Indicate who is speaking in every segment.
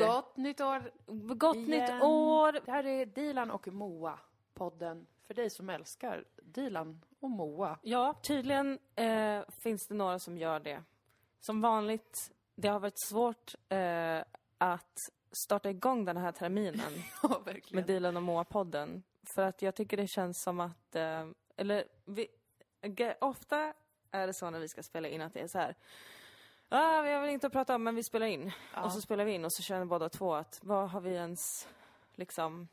Speaker 1: Gott nytt år!
Speaker 2: Gott
Speaker 1: igen.
Speaker 2: nytt år!
Speaker 1: Det här är Dilan och Moa, podden för dig som älskar Dilan och Moa.
Speaker 2: Ja, tydligen eh, finns det några som gör det. Som vanligt, det har varit svårt eh, att starta igång den här terminen
Speaker 1: Ja,
Speaker 2: med
Speaker 1: verkligen.
Speaker 2: Dilan och Moa-podden. För att jag tycker det känns som att, eh, eller vi, ge- ofta är det så när vi ska spela in att det är så här. Ah, vi har väl inte att prata om men vi spelar in. Och så spelar vi in och så känner båda två att vad har vi ens liksom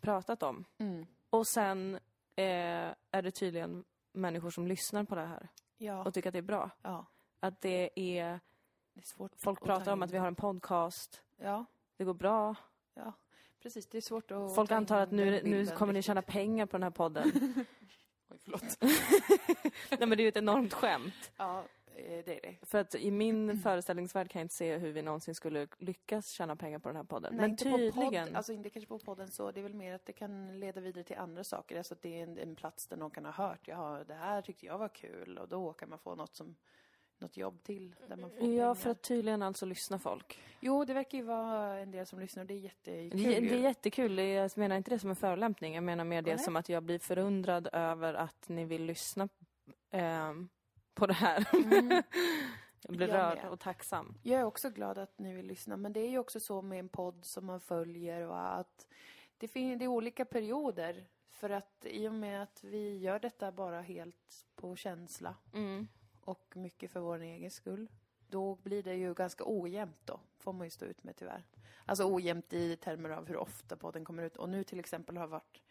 Speaker 2: pratat om?
Speaker 1: Mm.
Speaker 2: Och sen eh, är det tydligen människor som lyssnar på det här
Speaker 1: Ja.
Speaker 2: och tycker att det är bra.
Speaker 1: ja.
Speaker 2: Att det är,
Speaker 1: Det är svårt
Speaker 2: folk
Speaker 1: att
Speaker 2: pratar
Speaker 1: ta
Speaker 2: om
Speaker 1: in.
Speaker 2: att vi har en podcast,
Speaker 1: Ja,
Speaker 2: det går bra.
Speaker 1: ja. Precis, det är svårt att...
Speaker 2: Folk
Speaker 1: ta in
Speaker 2: antar att nu,
Speaker 1: den
Speaker 2: nu
Speaker 1: bilden
Speaker 2: kommer ni
Speaker 1: riktigt.
Speaker 2: tjäna pengar på den här podden.
Speaker 1: Oj, förlåt.
Speaker 2: Nej men det är ju ett enormt skämt.
Speaker 1: Ja, eh, det är det.
Speaker 2: För att i min föreställningsvärld kan jag inte se hur vi någonsin skulle lyckas tjäna pengar på den här podden.
Speaker 1: Nej,
Speaker 2: men
Speaker 1: inte På
Speaker 2: tydligen.
Speaker 1: podd, alltså inte kanske på podden så, det är väl mer att det kan leda vidare till andra saker. Alltså att det är en, en plats där någon kan ha hört, jaha, det här tyckte jag var kul och då kan man få något som, något jobb till där man får pengar.
Speaker 2: ja, för att tydligen alltså lyssnar folk.
Speaker 1: Jo, det verkar ju vara en del som lyssnar och det är jättekul
Speaker 2: Det, det är
Speaker 1: ju.
Speaker 2: jättekul. Det- Jag menar inte det som en förolämpning. Jag menar mer det
Speaker 1: Nej.
Speaker 2: som att jag blir förundrad över att ni vill lyssna ehm, på det här. jag blir
Speaker 1: Mm. Jag
Speaker 2: rörd
Speaker 1: med.
Speaker 2: och tacksam.
Speaker 1: Jag är också glad att ni vill lyssna, men det är ju också så med en podd som man följer och att det, fin- det är olika perioder. För att i och med att vi gör detta bara helt på känsla
Speaker 2: Mm.
Speaker 1: och mycket för vår egen skull, då blir det ju ganska ojämnt då, får man ju stå ut med tyvärr. Alltså ojämnt i termer av hur ofta podden kommer ut. Och nu till exempel har det varit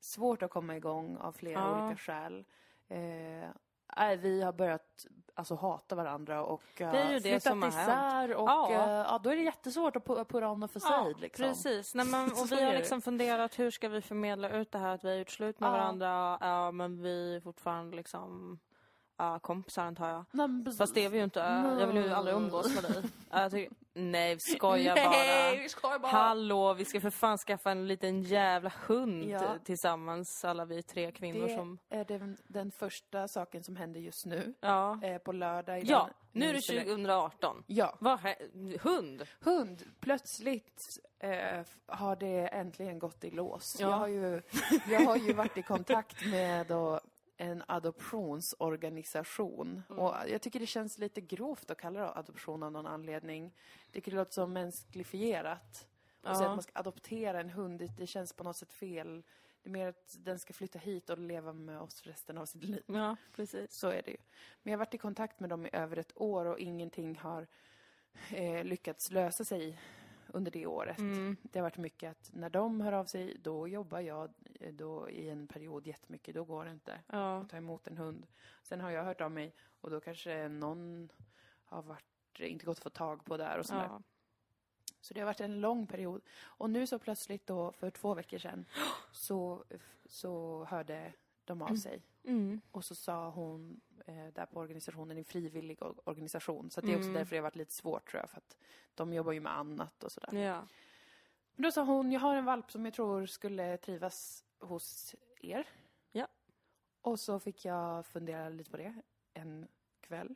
Speaker 1: svårt att komma igång av flera
Speaker 2: Ja.
Speaker 1: olika skäl. Eh, nej, vi har börjat alltså, hata varandra och eh,
Speaker 2: Det är ju det
Speaker 1: flyttat
Speaker 2: som har hänt.
Speaker 1: isär och
Speaker 2: Ja.
Speaker 1: ja. ja, då är det jättesvårt att pu- purra om och för sig. liksom.
Speaker 2: Precis. Nej, men, och
Speaker 1: Så
Speaker 2: vi
Speaker 1: är
Speaker 2: har
Speaker 1: det.
Speaker 2: liksom funderat hur ska vi förmedla ut det här att vi har gjort slut med
Speaker 1: Ja.
Speaker 2: varandra, ja, men vi är fortfarande liksom ja, kompisar antar jag.
Speaker 1: Nej, men precis.
Speaker 2: Fast det är vi ju inte.
Speaker 1: Mm.
Speaker 2: Jag vill ju aldrig umgås med dig. Ja, jag tycker, nej, skoja bara.
Speaker 1: Nej, vi skojar bara.
Speaker 2: Hallå, vi ska för fan skaffa en liten jävla hund
Speaker 1: Ja.
Speaker 2: tillsammans, alla vi tre kvinnor
Speaker 1: det
Speaker 2: som...
Speaker 1: är den, den första saken som händer just nu.
Speaker 2: Ja.
Speaker 1: Eh, på lördag. i
Speaker 2: Ja,
Speaker 1: den-
Speaker 2: nu är det
Speaker 1: spelar-
Speaker 2: 2018.
Speaker 1: Ja.
Speaker 2: Vad hä- Hund?
Speaker 1: Hund, plötsligt eh, f- har det äntligen gått i lås.
Speaker 2: Ja.
Speaker 1: Jag, har ju, jag har ju varit i kontakt med då, en adoptionsorganisation. Och jag tycker det känns lite grovt att kalla det adoption av någon anledning. Det kan låta som mänskligifierat. Och säga att man ska adoptera en hund, det, det känns på något sätt fel. Det är mer att den ska flytta hit och leva med oss resten av sitt liv.
Speaker 2: Ja, precis.
Speaker 1: Så är det ju. Men jag har varit i kontakt med dem i över ett år och ingenting har eh, lyckats lösa sig under det året. Det har varit mycket att när de hör av sig, då jobbar jag eh, då i en period jättemycket. Då går det inte
Speaker 2: Ja.
Speaker 1: att ta emot en hund. Sen har jag hört av mig och då kanske någon har varit, inte gått att få tag på där och sådär.
Speaker 2: Ja.
Speaker 1: Så det har varit en lång period. Och nu så plötsligt då, för två veckor sedan, så, så hörde de av sig.
Speaker 2: Mm.
Speaker 1: Och så sa hon eh, där på organisationen, en frivillig or- organisation. Så att det är
Speaker 2: Mm.
Speaker 1: också därför det har varit lite svårt tror jag, för att de jobbar ju med annat och sådär.
Speaker 2: ja.
Speaker 1: Men då sa hon, jag har en valp som jag tror skulle trivas hos er.
Speaker 2: Ja.
Speaker 1: Och så fick jag fundera lite på det en kväll.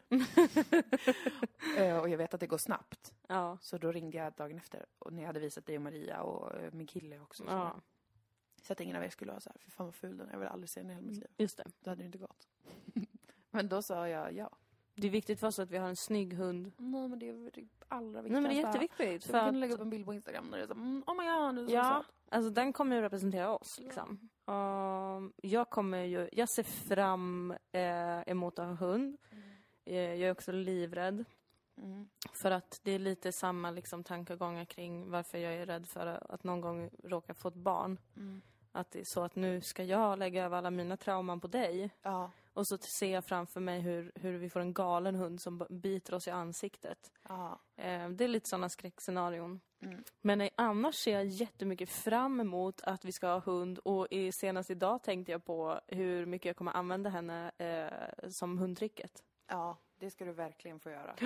Speaker 1: Eh, och jag vet att det går snabbt.
Speaker 2: Ja.
Speaker 1: Så då ringde jag dagen efter och när jag hade visat dig och Maria och eh, min kille också. och sådär.
Speaker 2: ja.
Speaker 1: Så att ingen av er skulle vara så här, för fan vad ful den är, jag vill aldrig se den i hela mitt liv.
Speaker 2: Just det.
Speaker 1: Då hade det inte gått. men då sa jag ja.
Speaker 2: Det är viktigt för oss att vi har en snygg hund.
Speaker 1: Nej men det är väl det allra viktigaste.
Speaker 2: Nej, men det är jätteviktigt.
Speaker 1: Så
Speaker 2: För
Speaker 1: vi kan
Speaker 2: att,
Speaker 1: lägga upp en bild på Instagram där det är så, mm, oh my god, du är så
Speaker 2: ja,
Speaker 1: söt.
Speaker 2: alltså den kommer ju representera oss liksom. Ehm, jag kommer ju, jag ser fram eh, emot att ha hund. Eh, jag är också livrädd.
Speaker 1: Mm.
Speaker 2: För att det är lite samma liksom, tankegångar kring varför jag är rädd för att någon gång råka få ett barn.
Speaker 1: Mm.
Speaker 2: Att det är så att nu ska jag lägga över alla mina trauman på dig.
Speaker 1: Ja,
Speaker 2: Och så ser jag framför mig hur, hur vi får en galen hund som b- biter oss i ansiktet.
Speaker 1: ja.
Speaker 2: Eh, det är lite sådana skräckscenarion.
Speaker 1: Mm.
Speaker 2: Men eh, annars ser jag jättemycket fram emot att vi ska ha hund och i, senast idag tänkte jag på hur mycket jag kommer använda henne eh, som hundtricket.
Speaker 1: Ja, det ska du verkligen få göra.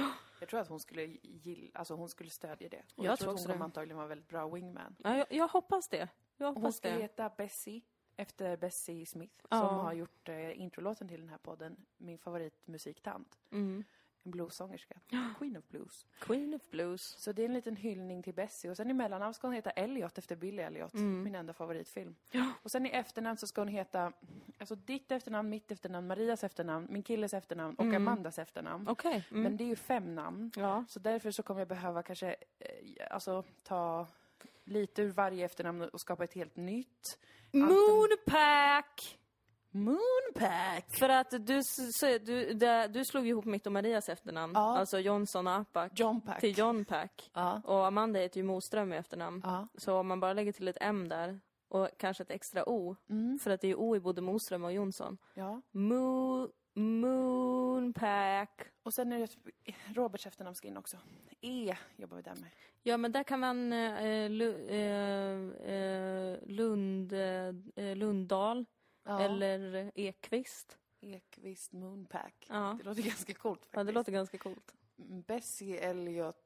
Speaker 1: Jag tror att hon skulle gilla, alltså hon skulle stödja det. Och
Speaker 2: Jag
Speaker 1: jag,
Speaker 2: tror
Speaker 1: tror att
Speaker 2: också
Speaker 1: hon
Speaker 2: det.
Speaker 1: kommer antagligen vara en väldigt bra wingman.
Speaker 2: Ja, jag, jag hoppas det. Jag
Speaker 1: Hon
Speaker 2: hoppas
Speaker 1: ska
Speaker 2: det.
Speaker 1: heta Bessie, efter Bessie Smith,
Speaker 2: Ja.
Speaker 1: som har gjort eh, introlåten till den här podden, min favoritmusiktant.
Speaker 2: Mm.
Speaker 1: bluesångerska. Queen of Blues.
Speaker 2: Queen of blues.
Speaker 1: Så det är en liten hyllning till Bessie. Och sen i mellannamn ska hon heta Elliot efter Billy Elliot, min enda favoritfilm. Och sen i efternamn så ska hon heta, alltså ditt efternamn, mitt efternamn, Marias efternamn, min killes efternamn Mm. och Amandas efternamn.
Speaker 2: Okej. Mm.
Speaker 1: Men det är ju fem namn.
Speaker 2: Ja.
Speaker 1: Så därför så kommer jag behöva kanske, eh, alltså ta lite ur varje efternamn och skapa ett helt nytt. Mm.
Speaker 2: Moonpack!
Speaker 1: Moonpack!
Speaker 2: För att du, s- säger- du, där- du slog ihop mitt och Marias efternamn,
Speaker 1: Ja.
Speaker 2: alltså Johnson och Apak,
Speaker 1: John Pack.
Speaker 2: till John Pack.
Speaker 1: Ja.
Speaker 2: Och Amanda heter ju Moström i efternamn.
Speaker 1: Ja.
Speaker 2: Så om man bara lägger till ett M där, och kanske ett extra O,
Speaker 1: Mm.
Speaker 2: för att det är ju O i både Moström och Jonsson.
Speaker 1: ja.
Speaker 2: Mo, moonpack.
Speaker 1: Och sen är det ett- Roberts efternamn ska in också. E jobbar vi där med.
Speaker 2: Ja, men där kan man eh, Lu, eh, eh, Lund, eh, Lundahl
Speaker 1: Ja.
Speaker 2: eller Ekvist.
Speaker 1: Ekvist Moonpack.
Speaker 2: Ja.
Speaker 1: Det låter ganska coolt faktiskt.
Speaker 2: Ja, det låter ganska coolt.
Speaker 1: Bessie Elliot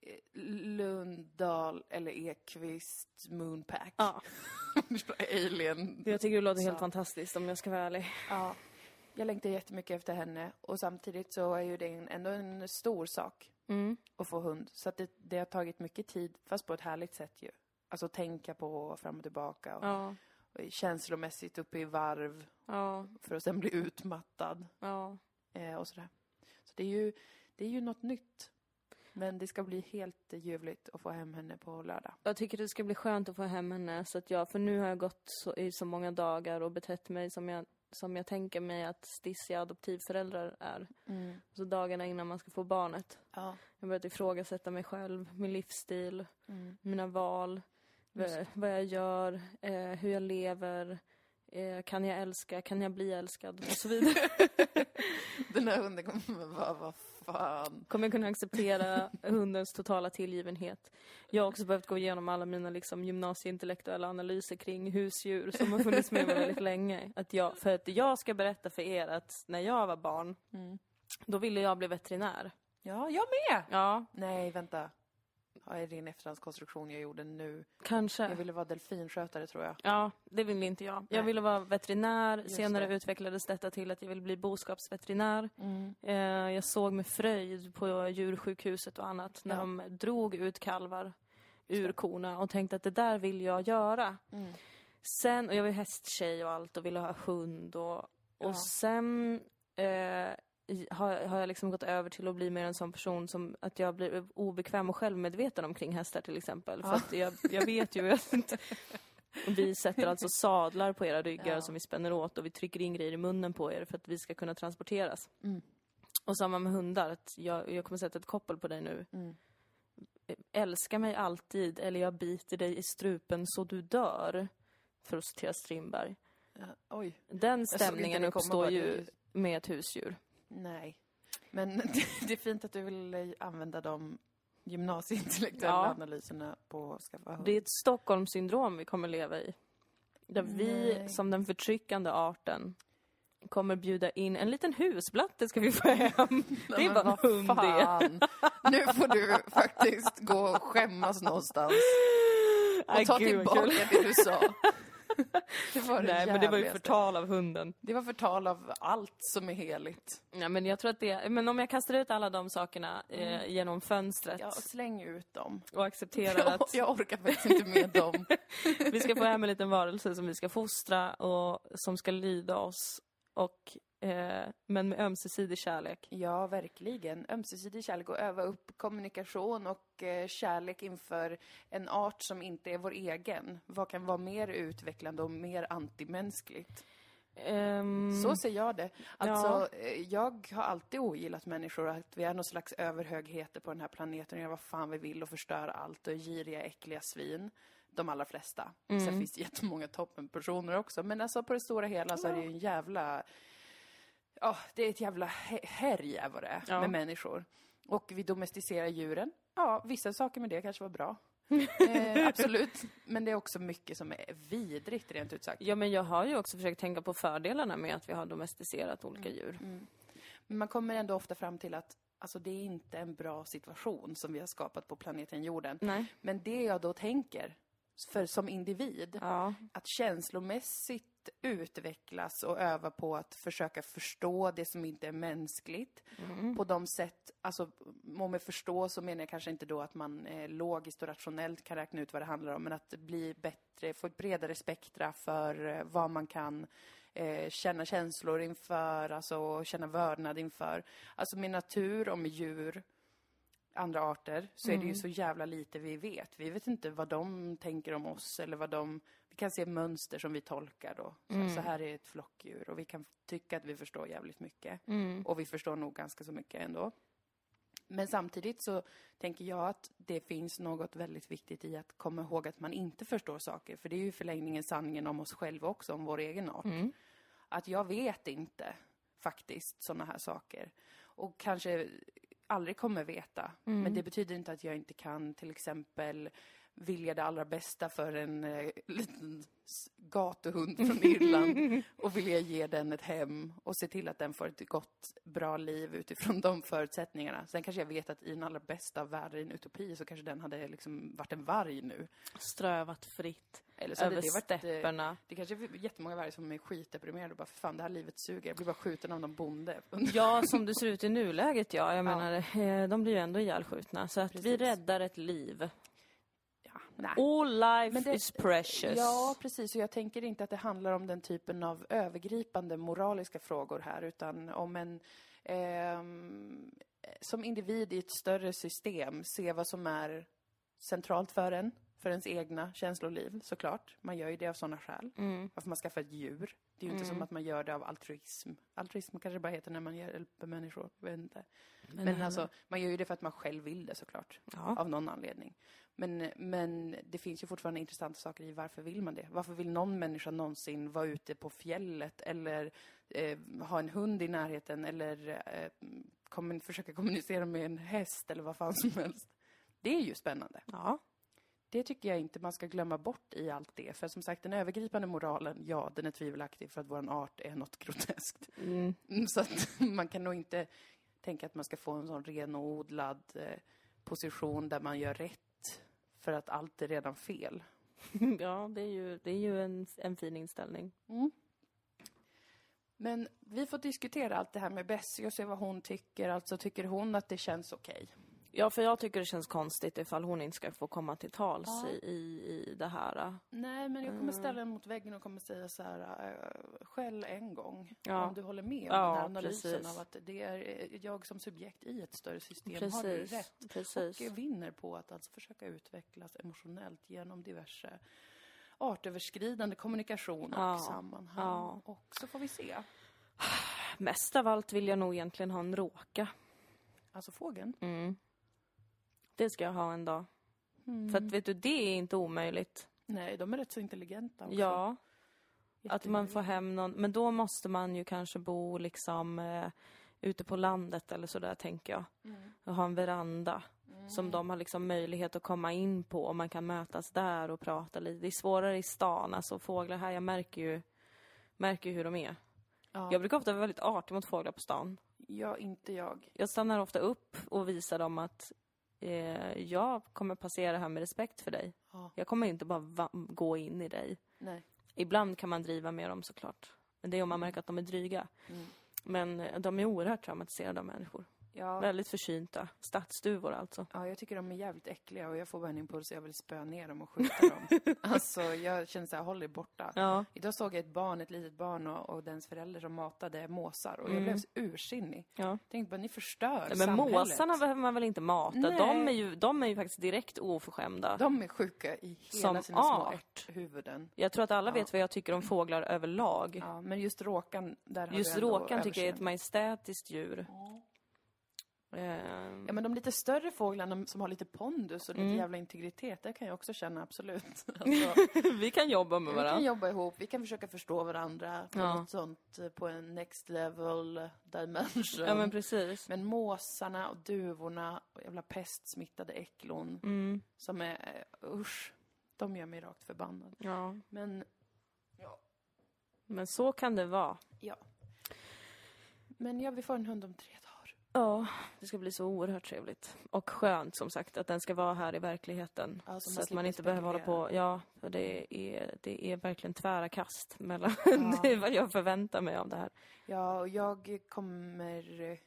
Speaker 1: eh, Lundahl eller Ekvist Moonpack.
Speaker 2: Ja.
Speaker 1: Alien.
Speaker 2: Jag tycker det låter
Speaker 1: Så.
Speaker 2: helt fantastiskt om jag ska vara ärlig.
Speaker 1: Ja. Jag längtar jättemycket efter henne och samtidigt så är ju det en- ändå en stor sak att få hund. Så att det, det har tagit mycket tid, fast på ett härligt sätt ju. Alltså tänka på fram och tillbaka och,
Speaker 2: Ja,
Speaker 1: och känslomässigt uppe i varv
Speaker 2: ja,
Speaker 1: för att sen bli utmattad
Speaker 2: ja.
Speaker 1: eh, och sådär. Så det är, ju, det är ju något nytt. Men det ska bli helt ljuvligt att få hem henne på lördag.
Speaker 2: Jag tycker det ska bli skönt att få hem henne, så att jag, för nu har jag gått så, i så många dagar och betett mig som jag, som jag tänker mig att stissiga adoptivföräldrar är.
Speaker 1: Mm.
Speaker 2: Så dagarna innan man ska få barnet.
Speaker 1: Ja.
Speaker 2: Jag har börjat ifrågasätta mig själv, min livsstil, mina val, vad, vad jag gör, eh, hur jag lever, eh, kan jag älska, kan jag bli älskad och så vidare.
Speaker 1: Den här hunden kommer vara, vad fan.
Speaker 2: Kommer jag kunna acceptera hundens totala tillgivenhet? Jag har också behövt gå igenom alla mina liksom, gymnasieintellektuella analyser kring husdjur som har funnits med mig väldigt länge. Att jag, för att jag ska berätta för er att när jag var barn, då ville jag bli veterinär.
Speaker 1: Mm. Ja, jag med!
Speaker 2: Ja,
Speaker 1: Nej, vänta. Ja, är det en efterhandskonstruktion jag gjorde nu?
Speaker 2: kanske.
Speaker 1: Jag ville vara delfinskötare tror jag.
Speaker 2: Ja, det ville inte jag. Jag
Speaker 1: Nej.
Speaker 2: ville vara veterinär, senare
Speaker 1: det.
Speaker 2: utvecklades detta till att jag ville bli boskapsveterinär.
Speaker 1: Mm.
Speaker 2: Eh, jag såg med fröjd på djursjukhuset och annat när
Speaker 1: Ja.
Speaker 2: de drog ut kalvar ur korna och tänkte att det där vill jag göra.
Speaker 1: Mm.
Speaker 2: Sen, och jag var ju hästtjej och allt och ville ha hund och, och
Speaker 1: Ja.
Speaker 2: sen eh, i- har, har jag liksom gått över till att bli mer en sån person som att jag blir obekväm och självmedveten omkring hästar till exempel. För
Speaker 1: Ja.
Speaker 2: att jag, jag vet ju att vi sätter alltså sadlar på era ryggar
Speaker 1: Ja.
Speaker 2: som vi spänner åt och vi trycker in grejer i munnen på er för att vi ska kunna transporteras.
Speaker 1: Mm,
Speaker 2: Och samma med hundar, att jag, jag kommer sätta ett koppel på dig nu.
Speaker 1: mm.
Speaker 2: Älska mig alltid eller jag biter dig i strupen så du dör. För att citera Strindberg.
Speaker 1: Ja, oj.
Speaker 2: Den
Speaker 1: såg inte
Speaker 2: stämningen
Speaker 1: det komma
Speaker 2: uppstår
Speaker 1: bara.
Speaker 2: ju med ett husdjur.
Speaker 1: Nej. Men det är fint att du vill använda de gymnasieintellektuella
Speaker 2: Ja.
Speaker 1: analyserna på att skaffa hund.
Speaker 2: Det är ett Stockholmssyndrom vi kommer leva i. Där vi,
Speaker 1: Nej.
Speaker 2: som den förtryckande arten, kommer bjuda in en liten husblatte ska vi få hem. Det är
Speaker 1: Men
Speaker 2: bara en
Speaker 1: vad
Speaker 2: hund det.
Speaker 1: fan. Nu får du faktiskt gå och skämmas någonstans. Och
Speaker 2: Nej,
Speaker 1: ta
Speaker 2: gud, vad
Speaker 1: tillbaka
Speaker 2: kul.
Speaker 1: det du sa. Det var det
Speaker 2: Nej, men det var ju
Speaker 1: jävligaste.
Speaker 2: förtal av hunden.
Speaker 1: Det var förtal av allt som är heligt.
Speaker 2: Ja, men jag tror att det, men om jag kastar ut alla de sakerna eh, genom fönstret
Speaker 1: Ja, släng ut dem.
Speaker 2: och accepterar
Speaker 1: Jag,
Speaker 2: att
Speaker 1: jag orkar faktiskt inte med dem.
Speaker 2: vi ska få hem en liten varelse som vi ska fostra och som ska lyda oss. Och, eh, men med ömsesidig kärlek.
Speaker 1: Ja, verkligen. Ömsesidig kärlek och öva upp kommunikation och eh, kärlek inför en art som inte är vår egen. Vad kan vara mer utvecklande och mer antimänskligt?
Speaker 2: Ehm,
Speaker 1: Så ser jag det. Alltså, eh, jag har alltid ogillat människor, att vi är någon slags överhögheter på den här planeten och gör vad fan vi vill och förstör allt och är giriga, äckliga svin. De allra flesta. Sen finns det jättemånga toppenpersoner också. Men alltså på det stora hela så är det ju en jävla... Ja, det är ett jävla he- härj är vad det är
Speaker 2: Ja.
Speaker 1: med människor. Och vi domesticerar djuren. Ja, vissa saker med det kanske var bra. eh, absolut. Men det är också mycket som är vidrigt rent ut sagt.
Speaker 2: Ja, men jag har ju också försökt tänka på fördelarna med att vi har domesticerat olika djur.
Speaker 1: Men man kommer ändå ofta fram till att alltså, det är inte en bra situation som vi har skapat på planeten jorden.
Speaker 2: Nej.
Speaker 1: Men det jag då tänker, för som individ,
Speaker 2: Ja.
Speaker 1: att känslomässigt utvecklas och öva på att försöka förstå det som inte är mänskligt. På de sätt, alltså, och med förstå så menar jag kanske inte då att man eh, logiskt och rationellt kan räkna ut vad det handlar om, men att bli bättre, få ett bredare spektra för eh, vad man kan eh, känna känslor inför, alltså känna vördnad inför. Alltså med natur och med djur, andra arter, så är det ju så jävla lite vi vet. Vi vet inte vad de tänker om oss eller vad de... Vi kan se mönster som vi tolkar då. Så, så här är ett flockdjur och vi kan tycka att vi förstår jävligt mycket. Och vi förstår nog ganska så mycket ändå. Men samtidigt så tänker jag att det finns något väldigt viktigt i att komma ihåg att man inte förstår saker. För det är ju i förlängningen sanningen om oss själva också, om vår egen art. Att jag vet inte faktiskt sådana här saker. Och kanske aldrig kommer veta. Men det betyder inte att jag inte kan till exempel vilja det allra bästa för en eh, liten s- gatuhund från Irland och vilja ge den ett hem och se till att den får ett gott, bra liv utifrån de förutsättningarna. Sen kanske jag vet att i den allra bästa av världar, i en utopi, så kanske den hade liksom varit en varg nu.
Speaker 2: Strövat fritt
Speaker 1: Eller så hade
Speaker 2: över
Speaker 1: det varit... eh,
Speaker 2: stäpperna.
Speaker 1: Det kanske är jättemånga vargar som är skitdeprimerade och bara, för fan det här livet suger, jag blir bara skjuten av någon bonde.
Speaker 2: Ja, som det ser ut i nuläget ja. Jag menar, eh, de blir ju ändå ihjälskjutna. Så att vi
Speaker 1: Precis.
Speaker 2: räddar ett liv.
Speaker 1: Ja, nej.
Speaker 2: All life
Speaker 1: Men det-
Speaker 2: is precious.
Speaker 1: Ja, precis. Och jag tänker inte att det handlar om den typen av övergripande moraliska frågor här, utan om en... ehm, som individ i ett större system, se vad som är centralt för en, för ens egna känsloliv, såklart. Man gör ju det av sådana skäl.
Speaker 2: Mm.
Speaker 1: Varför man skaffar ett djur. Det är ju inte som att man gör det av altruism. Altruism kanske bara heter när man hjälper människor, jag vet inte. Men, alltså, man gör ju det för att man själv vill det såklart
Speaker 2: Ja.
Speaker 1: av någon anledning. Men, men det finns ju fortfarande intressanta saker i varför vill man det? Varför vill någon människa någonsin vara ute på fjället eller eh, ha en hund i närheten eller eh, kommun- försöka kommunicera med en häst eller vad fan som helst? Det är ju spännande.
Speaker 2: ja.
Speaker 1: Det tycker jag inte man ska glömma bort i allt det. För som sagt, den övergripande moralen, ja, den är tvivelaktig för att vår art är något groteskt.
Speaker 2: Mm.
Speaker 1: Mm, Så att man kan nog inte tänka att man ska få en sån renodlad eh, position där man gör rätt för att allt är redan fel.
Speaker 2: ja, det är ju, det är ju en, en fin inställning.
Speaker 1: Men vi får diskutera allt det här med Bessie och se vad hon tycker. Alltså, tycker hon att det känns okej?
Speaker 2: Ja, för jag tycker det känns konstigt ifall hon inte ska få komma till tals i, i, i det här.
Speaker 1: Nej, men jag kommer ställa henne mot väggen och kommer säga så här, eh, skäll en gång.
Speaker 2: Ja.
Speaker 1: Om du håller med om
Speaker 2: Ja,
Speaker 1: den här analysen
Speaker 2: precis.
Speaker 1: av att det är eh, jag som subjekt i ett större system har du
Speaker 2: Precis,
Speaker 1: rätt.
Speaker 2: precis.
Speaker 1: Och vinner på att alltså försöka utvecklas emotionellt genom diverse artöverskridande kommunikation och
Speaker 2: Ja,
Speaker 1: sammanhang.
Speaker 2: ja.
Speaker 1: Och så får vi se.
Speaker 2: Mest av allt vill jag nog egentligen ha en råka.
Speaker 1: Alltså fågeln.
Speaker 2: Mm. Det ska jag ha en dag. För att vet du, det är inte omöjligt.
Speaker 1: Nej, de är rätt så intelligenta också.
Speaker 2: Ja, att man
Speaker 1: Jättemycket.
Speaker 2: får hem någon. Men då måste man ju kanske bo liksom eh, ute på landet eller sådär tänker jag.
Speaker 1: Mm.
Speaker 2: Och ha en veranda som de har liksom möjlighet att komma in på och man kan mötas där och prata lite. Det är svårare i stan, alltså fåglar här, jag märker ju, märker ju hur de är.
Speaker 1: Ja.
Speaker 2: Jag brukar ofta vara väldigt artig mot fåglar på stan.
Speaker 1: ja, inte jag.
Speaker 2: Jag stannar ofta upp och visar dem att eh, jag kommer passera här med respekt för dig.
Speaker 1: Ja.
Speaker 2: Jag kommer inte bara va- gå in i dig.
Speaker 1: Nej.
Speaker 2: Ibland kan man driva med dem såklart. Men det är om man märker att de är dryga.
Speaker 1: Mm.
Speaker 2: Men eh, de är oerhört traumatiserade av människor.
Speaker 1: Ja.
Speaker 2: Väldigt försynta. Stadsduvor alltså.
Speaker 1: Ja, jag tycker de är jävligt äckliga och jag får bara en impuls att jag vill spöa ner dem och skjuta dem. Alltså, jag känner såhär, håll er borta.
Speaker 2: Ja.
Speaker 1: Idag såg jag ett barn, ett litet barn och, och dens förälder som matade måsar och jag
Speaker 2: Mm.
Speaker 1: blev så ursinnig.
Speaker 2: ja.
Speaker 1: Tänkte bara, ni förstör
Speaker 2: Men
Speaker 1: samhället.
Speaker 2: måsarna behöver man väl inte mata?
Speaker 1: Nej.
Speaker 2: De är, ju, de är ju faktiskt direkt oförskämda.
Speaker 1: De är sjuka i hela sina
Speaker 2: Som
Speaker 1: små
Speaker 2: art.
Speaker 1: ärthuvuden.
Speaker 2: Jag tror att alla
Speaker 1: Ja.
Speaker 2: vet vad jag tycker om fåglar överlag.
Speaker 1: Ja, men just råkan, där har
Speaker 2: Just
Speaker 1: du ändå
Speaker 2: råkan tycker jag är ett
Speaker 1: överseende.
Speaker 2: majestätiskt djur.
Speaker 1: Ja,
Speaker 2: Ehm,
Speaker 1: men de lite större fåglarna som har lite pondus och
Speaker 2: Mm.
Speaker 1: lite jävla integritet, det kan jag också känna absolut. Alltså,
Speaker 2: vi kan jobba med
Speaker 1: Vi kan
Speaker 2: varandra.
Speaker 1: jobba ihop, vi kan försöka förstå varandra på
Speaker 2: Ja.
Speaker 1: något sånt, eh, på en next level dimension.
Speaker 2: Ja men
Speaker 1: men,
Speaker 2: precis.
Speaker 1: måsarna och duvorna och jävla pestsmittade äcklon
Speaker 2: Mm.
Speaker 1: som är, eh, usch, de gör mig rakt förbannad.
Speaker 2: Ja.
Speaker 1: Men,
Speaker 2: Men så kan det vara.
Speaker 1: ja. Men ja, vi får en hund om tre dagar.
Speaker 2: Ja, det ska bli så oerhört trevligt. Och skönt som sagt att den ska vara här i verkligheten.
Speaker 1: Ja, så man
Speaker 2: så att
Speaker 1: slipper
Speaker 2: man inte behöver hålla på,
Speaker 1: spekulera.
Speaker 2: ja, för det är, det är verkligen tvära kast mellan
Speaker 1: Ja.
Speaker 2: det, vad jag förväntar mig av det här.
Speaker 1: Ja, och jag kommer... eh,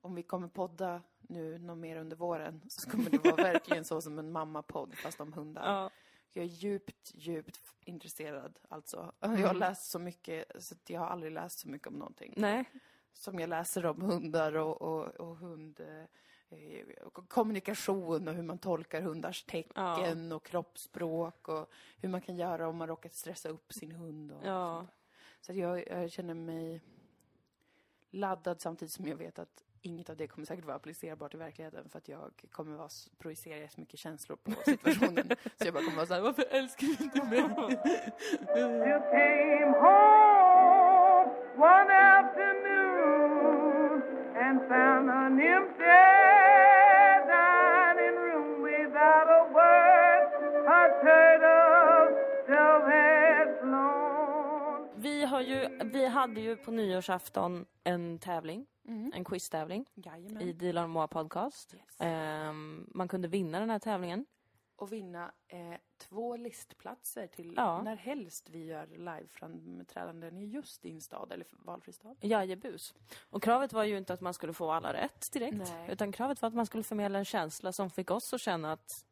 Speaker 1: Om vi kommer podda nu någon mer under våren så kommer det vara verkligen så som en mammapodd fast om hundar.
Speaker 2: Ja,
Speaker 1: Jag är djupt, djupt intresserad alltså. Jag har läst så mycket så att jag har aldrig läst så mycket om någonting.
Speaker 2: nej,
Speaker 1: Som jag läser om hundar och, och, och hund... eh, eh, och kommunikation och hur man tolkar hundars tecken och kroppsspråk och hur man kan göra om man råkat stressa upp sin hund. Och sånt.
Speaker 2: ja,
Speaker 1: Så att jag, jag känner mig laddad samtidigt som jag vet att inget av det kommer säkert vara applicerbart i verkligheten för att jag kommer vara, s- projicera jättemycket känslor på situationen. så jag bara kommer vara såhär, varför älskar du inte mig?
Speaker 3: You came home one afternoon and found an empty dining room without a word. A turtle dove had flown.
Speaker 2: Vi, har ju, vi hade ju på nyårsafton en tävling, en quiztävling i
Speaker 1: Jajamän.
Speaker 2: Dilan Moa podcast.
Speaker 1: Mm. Yes.
Speaker 2: Ehm, man kunde vinna den här tävlingen.
Speaker 1: Och vinna eh, två listplatser till
Speaker 2: Ja.
Speaker 1: när helst vi gör liveframträdanden i just din stad eller valfri stad.
Speaker 2: Jajebus. Och kravet var ju inte att man skulle få alla rätt direkt.
Speaker 1: Nej.
Speaker 2: Utan kravet var att man skulle förmedla en känsla som fick oss att känna att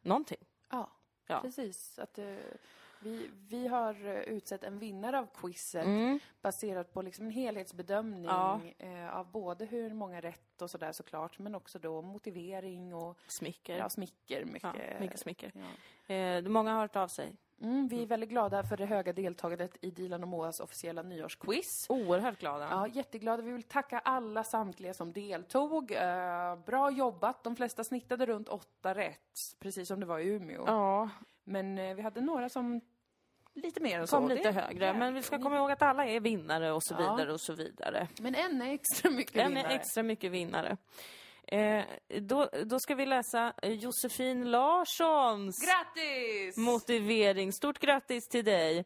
Speaker 2: någonting.
Speaker 1: Ja,
Speaker 2: Ja.
Speaker 1: precis. Att, eh, vi, vi har eh, utsett en vinnare av quizet baserat på liksom en helhetsbedömning
Speaker 2: Ja.
Speaker 1: eh, av både hur många rätt och sådär såklart, men också då motivering och
Speaker 2: Smicker.
Speaker 1: ja, smicker. Mycket.
Speaker 2: Ja, mycket smicker.
Speaker 1: Ja.
Speaker 2: Eh, många har hört av sig.
Speaker 1: Mm, vi är väldigt glada för det höga deltagandet i Dilan och Moas officiella nyårsquiz.
Speaker 2: Oerhört glada.
Speaker 1: Ja, jätteglada. Vi vill tacka alla samtliga som deltog. Eh, bra jobbat. De flesta snittade runt åtta rätt, precis som det var i Umeå.
Speaker 2: Ja,
Speaker 1: Men eh, vi hade några som lite mer än så.
Speaker 2: kom lite
Speaker 1: Det-
Speaker 2: högre. Men vi ska komma ihåg att alla är vinnare och så vidare och så vidare.
Speaker 1: Men en är extra mycket
Speaker 2: En är
Speaker 1: vinnare.
Speaker 2: extra mycket vinnare. Eh, då, då ska vi läsa eh, Josefin Larssons
Speaker 1: Grattis!
Speaker 2: motivering. Stort grattis till dig!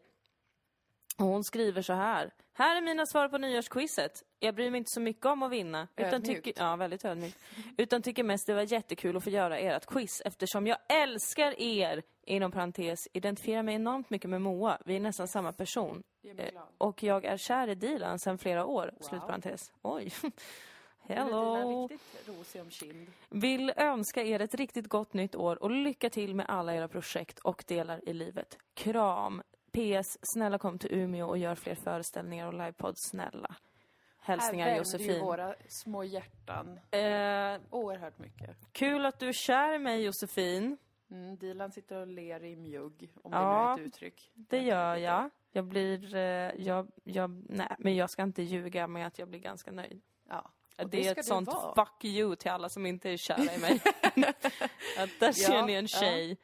Speaker 2: Och hon skriver så här. Här är mina svar på nyårsquizet. Jag bryr mig inte så mycket om att vinna. Utan
Speaker 1: Ödmjukt.
Speaker 2: tycker, ja, väldigt ödmjukt. Utan tycker mest det var jättekul att få göra ert quiz eftersom jag älskar er! Inom parentes, identifierar mig enormt mycket med Moa. Vi är nästan samma person.
Speaker 1: Det gör mig
Speaker 2: Eh,
Speaker 1: glad.
Speaker 2: Och jag är kär i Dilan sedan flera år. Slutparentes. Oj. Hello!
Speaker 1: riktigt rosig om kind.
Speaker 2: Vill önska er ett riktigt gott nytt år och lycka till med alla era projekt och delar i livet. Kram! PS. Snälla kom till Umeå och gör fler föreställningar och livepodd, snälla. Hälsningar
Speaker 1: ju
Speaker 2: Josefin.
Speaker 1: våra små hjärtan
Speaker 2: Eh,
Speaker 1: oerhört mycket.
Speaker 2: kul att du är kär i mig Josefin.
Speaker 1: Mm, Dilan sitter och ler i mjugg, om det nu
Speaker 2: Ja.
Speaker 1: är ett uttryck.
Speaker 2: Det gör jag. Jag blir... Eh, jag, jag, nej, men jag ska inte ljuga med att jag blir ganska nöjd.
Speaker 1: Ja.
Speaker 2: Det,
Speaker 1: Och
Speaker 2: är
Speaker 1: ska
Speaker 2: ett
Speaker 1: du
Speaker 2: sånt
Speaker 1: vara.
Speaker 2: fuck you till alla som inte är kära i mig. att där ser
Speaker 1: Ja,
Speaker 2: ni en
Speaker 1: ja.
Speaker 2: tjej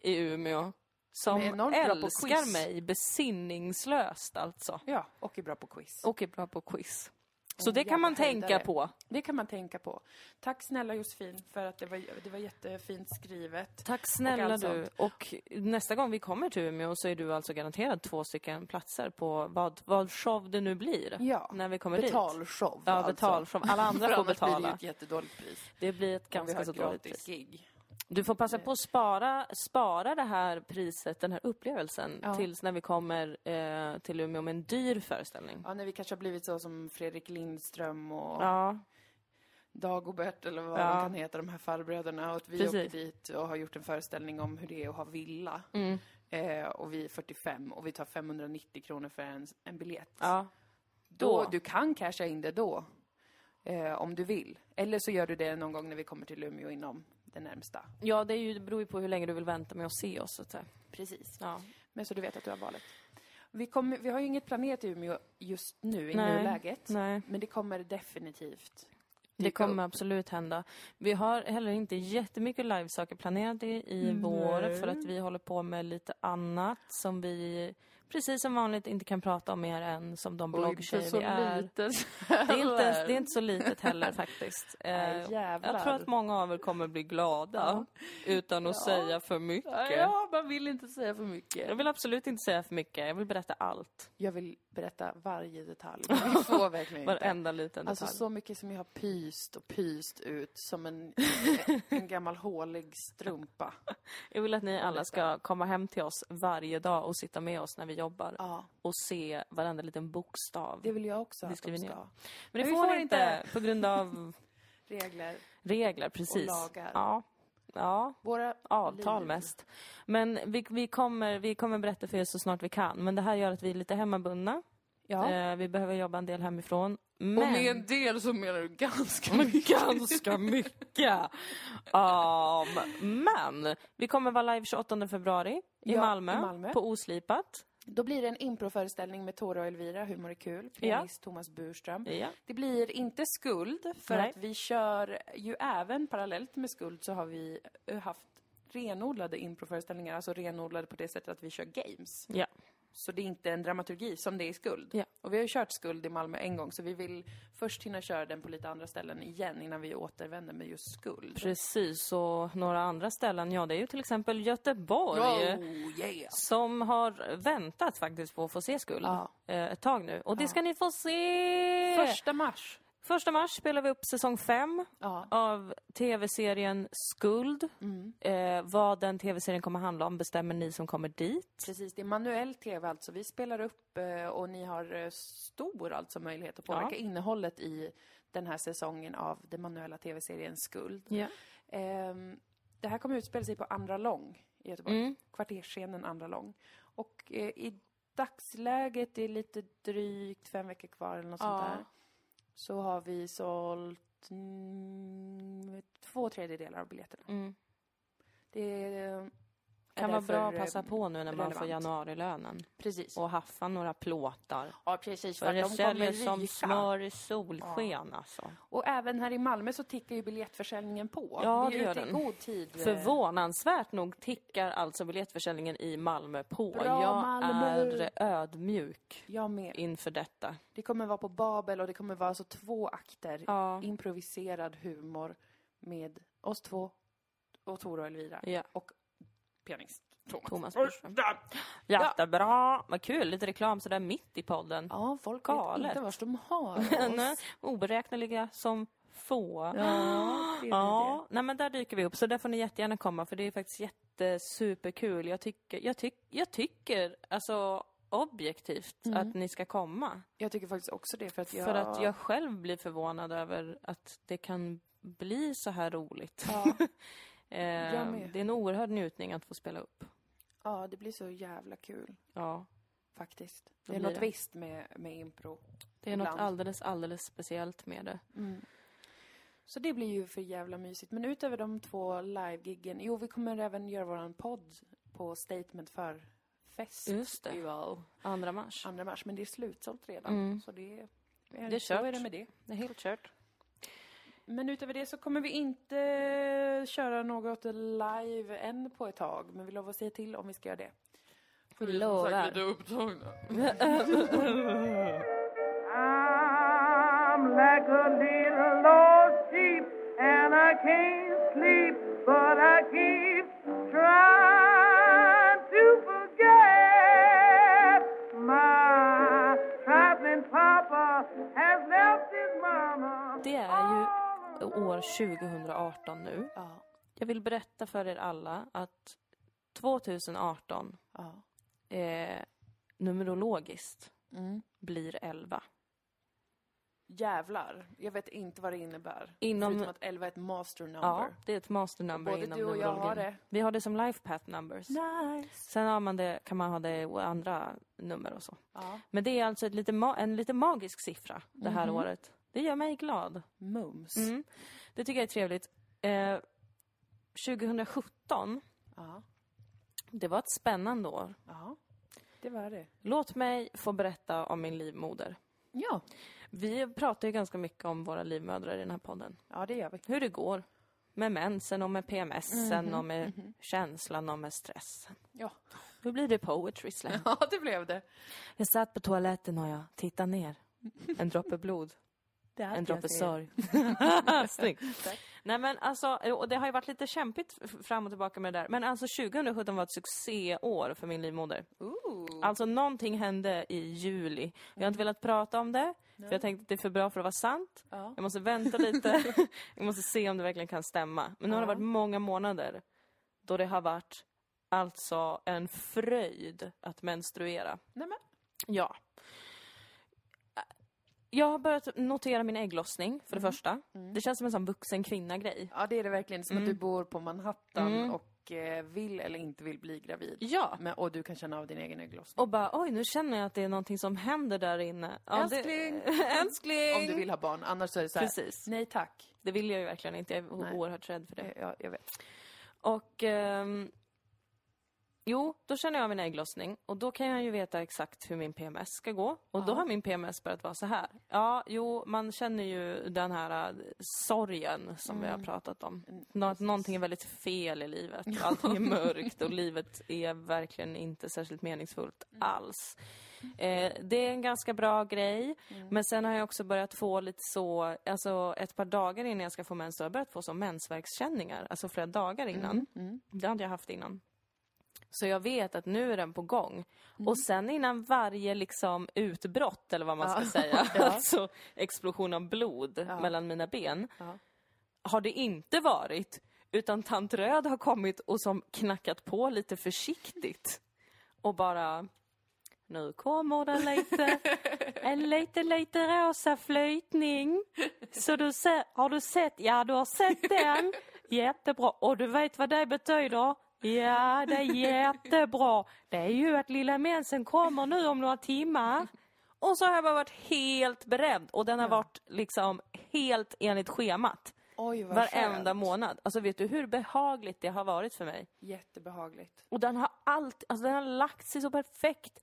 Speaker 2: i Umeå som
Speaker 1: Som är enormt bra på
Speaker 2: älskar
Speaker 1: quiz.
Speaker 2: mig besinningslöst alltså.
Speaker 1: Ja, och är bra på quiz.
Speaker 2: Och är bra på quiz. Så
Speaker 1: Åh,
Speaker 2: det kan man
Speaker 1: jävla
Speaker 2: tänka
Speaker 1: höjdare.
Speaker 2: på.
Speaker 1: Det kan man tänka på. Tack snälla Josefin för att det var, det var jättefint skrivet.
Speaker 2: Tack
Speaker 1: Och
Speaker 2: snälla
Speaker 1: allt
Speaker 2: du.
Speaker 1: sånt.
Speaker 2: Och nästa gång vi kommer till Umeå så är du alltså garanterad två stycken platser på vad, vad show det nu blir.
Speaker 1: Ja.
Speaker 2: När vi kommer dit.
Speaker 1: Betalshow alltså.
Speaker 2: Ja, betalshow. Alla andra
Speaker 1: För
Speaker 2: får
Speaker 1: annars blir det ju
Speaker 2: betala.
Speaker 1: ett jättedåligt pris.
Speaker 2: Det blir ett
Speaker 1: Om vi har
Speaker 2: ganska så
Speaker 1: ett
Speaker 2: dåligt
Speaker 1: gratis
Speaker 2: pris.
Speaker 1: gig.
Speaker 2: Du får passa på att spara, spara det här priset, den här upplevelsen,
Speaker 1: Ja.
Speaker 2: tills när vi kommer eh, till Umeå med en dyr föreställning.
Speaker 1: Ja, när vi kanske har blivit så som Fredrik Lindström och
Speaker 2: Ja,
Speaker 1: Dagobert eller vad
Speaker 2: Ja.
Speaker 1: de kan heta, de här farbröderna. Och att vi
Speaker 2: Precis.
Speaker 1: åker dit och har gjort en föreställning om hur det är att ha villa.
Speaker 2: Mm.
Speaker 1: Eh, och vi är 45 och vi tar 590 kronor för en, en biljett.
Speaker 2: ja.
Speaker 1: Då,
Speaker 2: då.
Speaker 1: du kan casha in det då. Eh, om du vill. Eller så gör du det någon gång när vi kommer till Umeå inom det närmsta.
Speaker 2: ja det, är ju, det beror ju på hur länge du vill vänta med att se oss. Så att säga.
Speaker 1: Precis.
Speaker 2: Ja.
Speaker 1: Men så du vet att du har valet. Vi, kommer, vi har ju inget planerat i Umeå just nu, i
Speaker 2: Nej,
Speaker 1: nuläget.
Speaker 2: nej.
Speaker 1: Men det kommer definitivt.
Speaker 2: Det
Speaker 1: Dyka
Speaker 2: kommer absolut hända. Vi har heller inte jättemycket livesaker planerade i vår för att vi håller på med lite annat som vi precis som vanligt inte kan prata om mer än som de
Speaker 1: Och inte
Speaker 2: bloggtjejer
Speaker 1: så
Speaker 2: vi är.
Speaker 1: litet.
Speaker 2: Det är, inte, ens- det är inte så litet heller faktiskt. Eh,
Speaker 1: jävlar.
Speaker 2: jag tror att många av er kommer bli glada utan att
Speaker 1: Ja.
Speaker 2: säga för mycket.
Speaker 1: Ja, man vill inte säga för
Speaker 2: Jag
Speaker 1: mycket.
Speaker 2: vill absolut inte säga för mycket, jag vill berätta allt.
Speaker 1: Jag vill berätta varje detalj. Jag får verkligen inte.
Speaker 2: Varenda liten detalj.
Speaker 1: Alltså så mycket som jag har pyst och pyst ut som en, en gammal hålig strumpa.
Speaker 2: Jag vill att ni alla ska komma hem till oss varje dag och sitta med oss när vi jobbar
Speaker 1: Ja,
Speaker 2: och se varenda liten bokstav.
Speaker 1: det vill jag också
Speaker 2: Vi
Speaker 1: att
Speaker 2: skriver
Speaker 1: de
Speaker 2: ner.
Speaker 1: ska.
Speaker 2: Men det
Speaker 1: Men vi
Speaker 2: får,
Speaker 1: får
Speaker 2: ni inte på grund av
Speaker 1: Regler
Speaker 2: regler, precis.
Speaker 1: och lagar.
Speaker 2: Ja. Ja,
Speaker 1: Våra
Speaker 2: avtal
Speaker 1: liv.
Speaker 2: mest. Men vi, vi, kommer, vi kommer berätta för er så snart vi kan. Men det här gör att vi är lite hemmabundna.
Speaker 1: Ja.
Speaker 2: Eh, vi behöver jobba en del hemifrån.
Speaker 1: Och
Speaker 2: Men...
Speaker 1: med en del så menar du ganska
Speaker 2: Men
Speaker 1: mycket.
Speaker 2: Ganska mycket. Um, men vi kommer vara live 28 februari i,
Speaker 1: Ja,
Speaker 2: Malmö,
Speaker 1: i Malmö.
Speaker 2: på Oslipat.
Speaker 1: Då blir det en improföreställning med Tora och Elvira, Humor är kul, pianist Thomas Burström.
Speaker 2: Ja.
Speaker 1: Det blir inte skuld, för
Speaker 2: Nej.
Speaker 1: att vi kör ju även parallellt med skuld så har vi eh, haft renodlade improföreställningar, alltså renodlade på det sättet att vi kör games.
Speaker 2: Ja.
Speaker 1: Så det är inte en dramaturgi som det är i skuld.
Speaker 2: Ja.
Speaker 1: Och vi har ju kört skuld i Malmö en gång, så vi vill först hinna köra den på lite andra ställen igen innan vi återvänder med just skuld.
Speaker 2: Precis, och några andra ställen, ja det är ju till exempel Göteborg.
Speaker 1: Oh, yeah.
Speaker 2: Som har väntat faktiskt på att få se Skuld
Speaker 1: Ja.
Speaker 2: eh, ett tag nu. Och det ska ni få se!
Speaker 1: Första mars.
Speaker 2: Första mars spelar vi upp säsong 5
Speaker 1: Ja. Mm.
Speaker 2: av tv-serien Skuld. Eh, vad den tv-serien kommer handla om bestämmer ni som kommer dit.
Speaker 1: Precis, det är manuell tv alltså. Vi spelar upp eh, och ni har eh, stor alltså möjlighet att påverka
Speaker 2: Ja.
Speaker 1: innehållet i den här säsongen av den manuella tv-serien Skuld. Ehm, det här kommer utspela sig på Andra Lång i Göteborg.
Speaker 2: Mm.
Speaker 1: Kvartersscenen Andra Lång. Och eh, i dagsläget, det är lite drygt fem veckor kvar eller något sånt
Speaker 2: Ja.
Speaker 1: där. Så har vi sålt mm, två tredjedelar av biljetterna.
Speaker 2: Mm.
Speaker 1: Det eh, är
Speaker 2: Kan vara
Speaker 1: därför,
Speaker 2: bra att
Speaker 1: eh,
Speaker 2: passa på nu när man får
Speaker 1: relevant.
Speaker 2: januarilönen
Speaker 1: Precis.
Speaker 2: och haffa några plåtar.
Speaker 1: Ja, precis. För
Speaker 2: För det
Speaker 1: att de kommer
Speaker 2: säljer som
Speaker 1: ryka.
Speaker 2: smör i solsken alltså.
Speaker 1: Och även här i Malmö så tickar ju biljettförsäljningen på.
Speaker 2: Ja,
Speaker 1: vi är
Speaker 2: det gör
Speaker 1: ute i
Speaker 2: den.
Speaker 1: god tid. eh,
Speaker 2: Förvånansvärt nog tickar alltså biljettförsäljningen i Malmö på.
Speaker 1: Bra,
Speaker 2: Jag
Speaker 1: Malmö!
Speaker 2: är ödmjuk
Speaker 1: Jag med.
Speaker 2: inför detta.
Speaker 1: Det kommer vara på Babel och det kommer vara så två akter.
Speaker 2: Ja.
Speaker 1: Improviserad humor med oss två och Tora och Elvira.
Speaker 2: Ja.
Speaker 1: Och pianist Thomas.
Speaker 2: Thomas Burström. Jättebra! Vad kul, lite reklam sådär mitt i podden.
Speaker 1: Ja, folk vet
Speaker 2: Galet.
Speaker 1: inte vars de har
Speaker 2: Nej,
Speaker 1: oss.
Speaker 2: Oberäkneliga som få.
Speaker 1: Ja, det är
Speaker 2: Ja, nej men där dyker vi upp. Så där får ni jättegärna komma för det är faktiskt jättesuperkul. Jag tycker, jag tyck, jag tycker alltså objektivt
Speaker 1: Mm.
Speaker 2: att ni ska komma.
Speaker 1: det. Jag tycker faktiskt också det för att jag...
Speaker 2: För att jag själv blir förvånad över att det kan bli så här roligt.
Speaker 1: Ja.
Speaker 2: eh,
Speaker 1: Jag med.
Speaker 2: det är en oerhörd njutning att få spela upp.
Speaker 1: ja, det blir så jävla kul
Speaker 2: Ja,
Speaker 1: faktiskt.
Speaker 2: Det
Speaker 1: Det är
Speaker 2: blir
Speaker 1: något
Speaker 2: det.
Speaker 1: visst med, med impro.
Speaker 2: det är något
Speaker 1: Ibland.
Speaker 2: alldeles, alldeles speciellt med det.
Speaker 1: Så det blir ju för jävla mysigt. Men utöver de två livegiggen, jo vi kommer även göra våran podd på Statement för fest.
Speaker 2: Just det.
Speaker 1: Well.
Speaker 2: Andra mars.
Speaker 1: 2 mars, men det är slutsålt redan.
Speaker 2: Mm.
Speaker 1: Så det är,
Speaker 2: Det är
Speaker 1: så är
Speaker 2: kört.
Speaker 1: det med det.
Speaker 2: Det är helt kört.
Speaker 1: Men utöver det så kommer vi inte köra något live än på ett tag. Men vi lovar att säga till om vi ska göra det.
Speaker 2: Lovar.
Speaker 3: I'm like a little lost sheep, and I can't sleep, but I keep trying to forget. My traveling papa has left his mama.
Speaker 2: Det är ju år 2018 nu.
Speaker 1: Ja,
Speaker 2: Jag vill berätta för er alla att 2018,
Speaker 1: ja.
Speaker 2: eh, numerologiskt,
Speaker 1: Mm.
Speaker 2: blir 11.
Speaker 1: Jävlar, jag vet inte vad det innebär.
Speaker 2: Inom-
Speaker 1: Förutom att 11 är ett master number.
Speaker 2: Ja, det är ett master number
Speaker 1: Både
Speaker 2: inom
Speaker 1: du och jag
Speaker 2: numerologin.
Speaker 1: har det.
Speaker 2: Vi har det som life path numbers.
Speaker 1: Nice.
Speaker 2: Sen har man det, kan man ha det i andra nummer och så.
Speaker 1: Ja.
Speaker 2: Men det är alltså ett lite ma- en lite magisk siffra det
Speaker 1: Mhm.
Speaker 2: här året. Det gör mig glad.
Speaker 1: Mums.
Speaker 2: Mm. Det tycker jag är trevligt. Eh, 2017,
Speaker 1: Ja.
Speaker 2: det var ett spännande år.
Speaker 1: ja, det var det.
Speaker 2: Låt mig få berätta om min livmoder.
Speaker 1: Ja.
Speaker 2: Vi pratar ju ganska mycket om våra livmödrar i den här podden.
Speaker 1: Ja, det gör vi.
Speaker 2: Hur det går med mensen och med PMSen och med känslan och med stressen.
Speaker 1: Ja.
Speaker 2: Nu blir det poetry slam.
Speaker 1: Ja, det blev det.
Speaker 2: Jag satt på toaletten och jag tittade ner. En droppe blod.
Speaker 1: det
Speaker 2: En droppe sorg. Snyggt. Nej men alltså, och det har ju varit lite kämpigt f- fram och tillbaka med det där. Men alltså 2017 var ett succéår för min livmoder.
Speaker 1: Mm.
Speaker 2: Alltså någonting hände i juli. Jag har
Speaker 1: Mm.
Speaker 2: inte velat prata om det, för jag tänkte att det är för bra för att vara sant.
Speaker 1: Ja.
Speaker 2: Jag måste vänta lite. jag måste se om det verkligen kan stämma. Men nu har det
Speaker 1: Ja.
Speaker 2: varit många månader då det har varit alltså en fröjd att menstruera.
Speaker 1: Nej, men.
Speaker 2: Ja. Jag har börjat notera min ägglossning, för det första. Det känns som en sån vuxen kvinna-grej.
Speaker 1: Ja, det är det verkligen. Som att du bor på Manhattan
Speaker 2: Mm.
Speaker 1: och eh, vill eller inte vill bli gravid.
Speaker 2: Ja.
Speaker 1: Men, och du kan känna av din egen ägglossning.
Speaker 2: Och bara, oj, nu känner jag att det är någonting som händer där inne. Ja, det-
Speaker 1: Älskling!
Speaker 2: Älskling!
Speaker 1: Om du vill ha barn, annars så är det så här.
Speaker 2: Precis.
Speaker 1: Nej tack.
Speaker 2: Det vill jag ju verkligen inte. Jag är
Speaker 1: Nej.
Speaker 2: oerhört rädd för det.
Speaker 1: Eh, Ja, jag vet.
Speaker 2: Och... ehm, jo, då känner jag av min ägglossning. Och då kan jag ju veta exakt hur min PMS ska gå. Och då har min PMS börjat vara så här. Ja, jo, man känner ju den här äh, sorgen som vi har pratat om. Nå att någonting är väldigt fel i livet. Allting är mörkt och livet är verkligen inte särskilt meningsfullt alls. Eh, det är en ganska bra grej. Men sen har jag också börjat få lite så, alltså ett par dagar innan jag ska få mens, så har jag börjat få så mensvärkskänningar. Alltså flera dagar innan. Det har inte jag haft innan. Så jag vet att nu är den på gång. Och sen innan varje liksom utbrott, eller vad man ska säga, alltså explosion av blod mellan mina ben,
Speaker 1: Ja.
Speaker 2: har det inte varit. Utan tant Röd har kommit och som knackat på lite försiktigt. Och bara, nu kommer det lite, en lite, lite rosa flytning. Så du ser, har du sett, ja du har sett den. Jättebra. Och du vet vad det betyder? Ja, det är jättebra. Det är ju att lilla mensen kommer nu om några timmar. Och så har jag bara varit helt beredd och den har varit liksom helt enligt schemat.
Speaker 1: Oj vad
Speaker 2: Varenda
Speaker 1: skönt.
Speaker 2: månad. Alltså vet du hur behagligt det har varit för mig?
Speaker 1: Jättebehagligt.
Speaker 2: Och den har allt, alltså den har lagt sig så perfekt.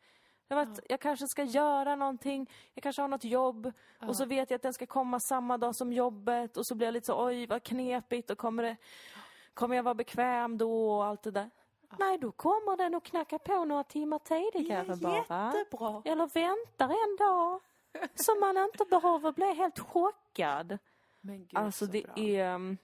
Speaker 2: Jag, vet, jag kanske ska göra någonting, jag kanske har något jobb och så vet jag att den ska komma samma dag som jobbet och så blir jag lite så oj vad knepigt och kommer, det, kommer jag vara bekväm då och allt det där. Nej, då kommer den och knackar på några timmar tidigare bara.
Speaker 1: Jättebra.
Speaker 2: Eller väntar en dag. Så man inte behöver bli helt chockad.
Speaker 1: Men gud
Speaker 2: Alltså
Speaker 1: så
Speaker 2: det
Speaker 1: bra.
Speaker 2: är... mm,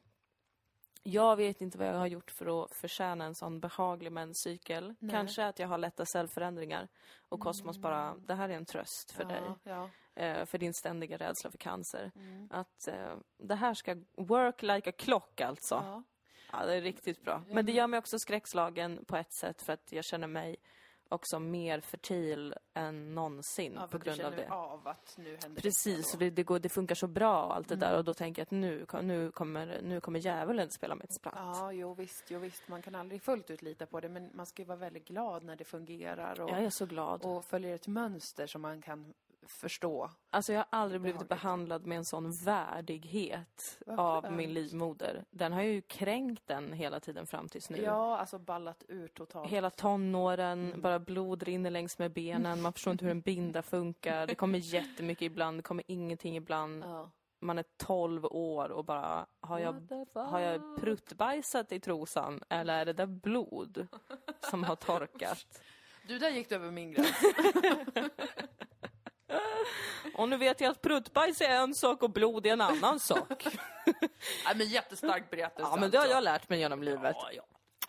Speaker 2: Jag vet inte vad jag har gjort för att förtjäna en sån behaglig menscykel.
Speaker 1: Nej.
Speaker 2: Kanske att jag har lätta cellförändringar. Och kosmos bara, det här är en tröst för
Speaker 1: ja,
Speaker 2: dig.
Speaker 1: Mm. Ja. Mm.
Speaker 2: Eh, för din ständiga rädsla för cancer. Att eh, det här ska work like a clock alltså. Ja.
Speaker 1: Ja.
Speaker 2: det är riktigt bra. Men det gör mig också skräckslagen på ett sätt för att jag känner mig också mer fertil än någonsin
Speaker 1: Ja,
Speaker 2: på grund av det.
Speaker 1: av att nu händer
Speaker 2: Precis,
Speaker 1: detta
Speaker 2: och
Speaker 1: då.
Speaker 2: det, det, går, det funkar så bra och allt det där och då tänker jag att nu, kom- nu, kommer, nu kommer djävulen spela mig ett spratt.
Speaker 1: Ja, jo visst, jo visst. Man kan aldrig fullt ut lita på det, men man ska ju vara väldigt glad när det fungerar och,
Speaker 2: Jag är så glad.
Speaker 1: och följer ett mönster som man kan förstå.
Speaker 2: Alltså jag har aldrig blivit
Speaker 1: Behagligt.
Speaker 2: behandlad med en sån värdighet
Speaker 1: Vad
Speaker 2: av
Speaker 1: skönt.
Speaker 2: min livmoder. Den har ju kränkt den hela tiden fram tills nu.
Speaker 1: Ja, alltså ballat ur totalt.
Speaker 2: Hela tonåren, bara blod rinner längs med benen, man förstår inte hur en binda funkar. Det kommer jättemycket ibland, det kommer ingenting ibland.
Speaker 1: Ja.
Speaker 2: Man är 12 år och bara, har jag Har jag pruttbajsat i trosan eller är det där blod som har torkat?
Speaker 1: Du, där gick du över min gräns.
Speaker 2: Och nu vet jag att pruttbajs är en sak och blod är en annan sak.
Speaker 1: Nej, men jättestark berättelse.
Speaker 2: Ja, men det har
Speaker 1: alltså.
Speaker 2: jag lärt mig genom livet. Ja,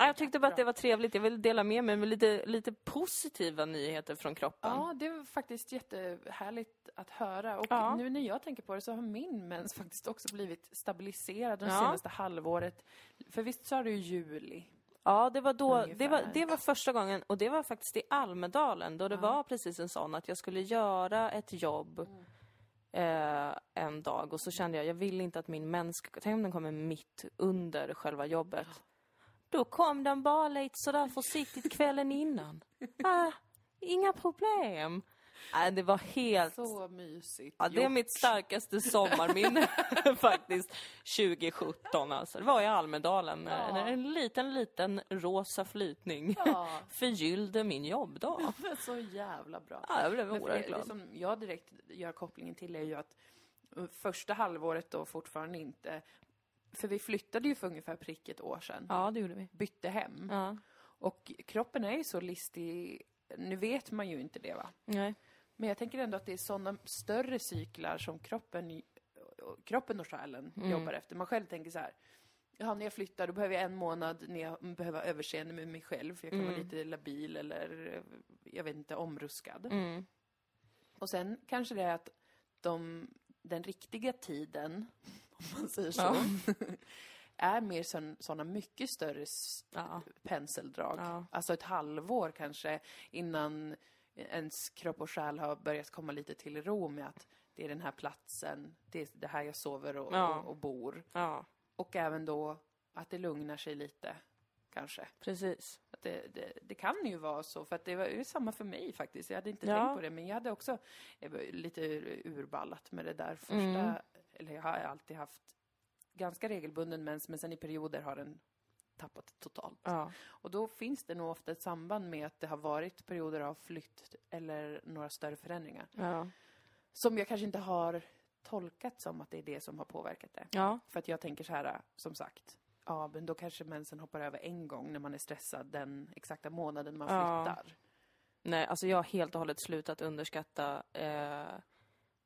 Speaker 2: Jag tyckte bara att det var trevligt. Jag ville dela med mig med lite, lite positiva nyheter från kroppen.
Speaker 1: Ja, det var faktiskt jättehärligt att höra. Och
Speaker 2: Liksom. Ja.
Speaker 1: nu när jag tänker på det så har min mens faktiskt också blivit stabiliserad det
Speaker 2: Ja.
Speaker 1: senaste halvåret. För visst sa du ju juli?
Speaker 2: Ja, det var då, det var,
Speaker 1: Ungefär.
Speaker 2: det var första gången och det var faktiskt i Almedalen då det var precis en sån att jag skulle göra ett jobb eh, en dag och så kände jag, jag vill inte att min mens, tänk om den kommer mitt under själva jobbet. Då kom den bara lite sådär försiktigt kvällen innan. Ah, inga problem. Nej, det var helt...
Speaker 1: Så mysigt
Speaker 2: Ja, det är
Speaker 1: gjort.
Speaker 2: mitt starkaste sommarminne faktiskt. 2017 alltså. Det var i Almedalen. när- När en liten, liten rosa flytning
Speaker 1: Ja.
Speaker 2: förgyllde min jobbdag.
Speaker 1: Men Så jävla bra.
Speaker 2: Ja, jag blev
Speaker 1: Men för det, liksom-
Speaker 2: oerhört
Speaker 1: det
Speaker 2: glad.
Speaker 1: som jag direkt gör kopplingen till är ju att eh, första halvåret då fortfarande inte... För vi flyttade ju för ungefär prick ett år sedan.
Speaker 2: Ja, det gjorde vi.
Speaker 1: Bytte hem.
Speaker 2: Ja.
Speaker 1: Och kroppen är ju så listig, nu vet man ju inte det va?
Speaker 2: Nej.
Speaker 1: Men jag tänker ändå att det är sådana större cyklar som kroppen, kroppen och själen jobbar efter. Man själv tänker så här, ja, när jag flyttar då behöver jag en månad när jag behöver ha överseende med mig själv, för jag kan vara lite labil eller, eh, jag vet inte, omruskad.
Speaker 2: Mm.
Speaker 1: Och sen kanske det är att de, den riktiga tiden, om man säger så, är mer sådana mycket större s-
Speaker 2: Ja.
Speaker 1: penseldrag.
Speaker 2: Ja.
Speaker 1: Alltså ett halvår kanske innan ens kropp och själ har börjat komma lite till ro med att det är den här platsen, det är det här jag sover och,
Speaker 2: Ja.
Speaker 1: och, och bor.
Speaker 2: Ja,
Speaker 1: Och även då att det lugnar sig lite, kanske.
Speaker 2: precis.
Speaker 1: Att det, det, det kan ju vara så, för att det var det är samma för mig faktiskt. Jag hade inte
Speaker 2: Ja.
Speaker 1: tänkt på det, men jag hade också eh, lite ur- urballat med det där första,
Speaker 2: Mm.
Speaker 1: eller jag har alltid haft ganska regelbunden mens, men sen i perioder har den tappat totalt.
Speaker 2: Ja.
Speaker 1: Och då finns det nog ofta ett samband med att det har varit perioder av flytt eller några större förändringar.
Speaker 2: Ja.
Speaker 1: Som jag kanske inte har tolkat som att det är det som har påverkat det.
Speaker 2: ja.
Speaker 1: För att jag tänker så här, som sagt. Ja, men då kanske mensen hoppar över en gång när man är stressad den exakta månaden man
Speaker 2: Ja.
Speaker 1: flyttar.
Speaker 2: Nej, alltså jag har helt och hållet slutat underskatta eh,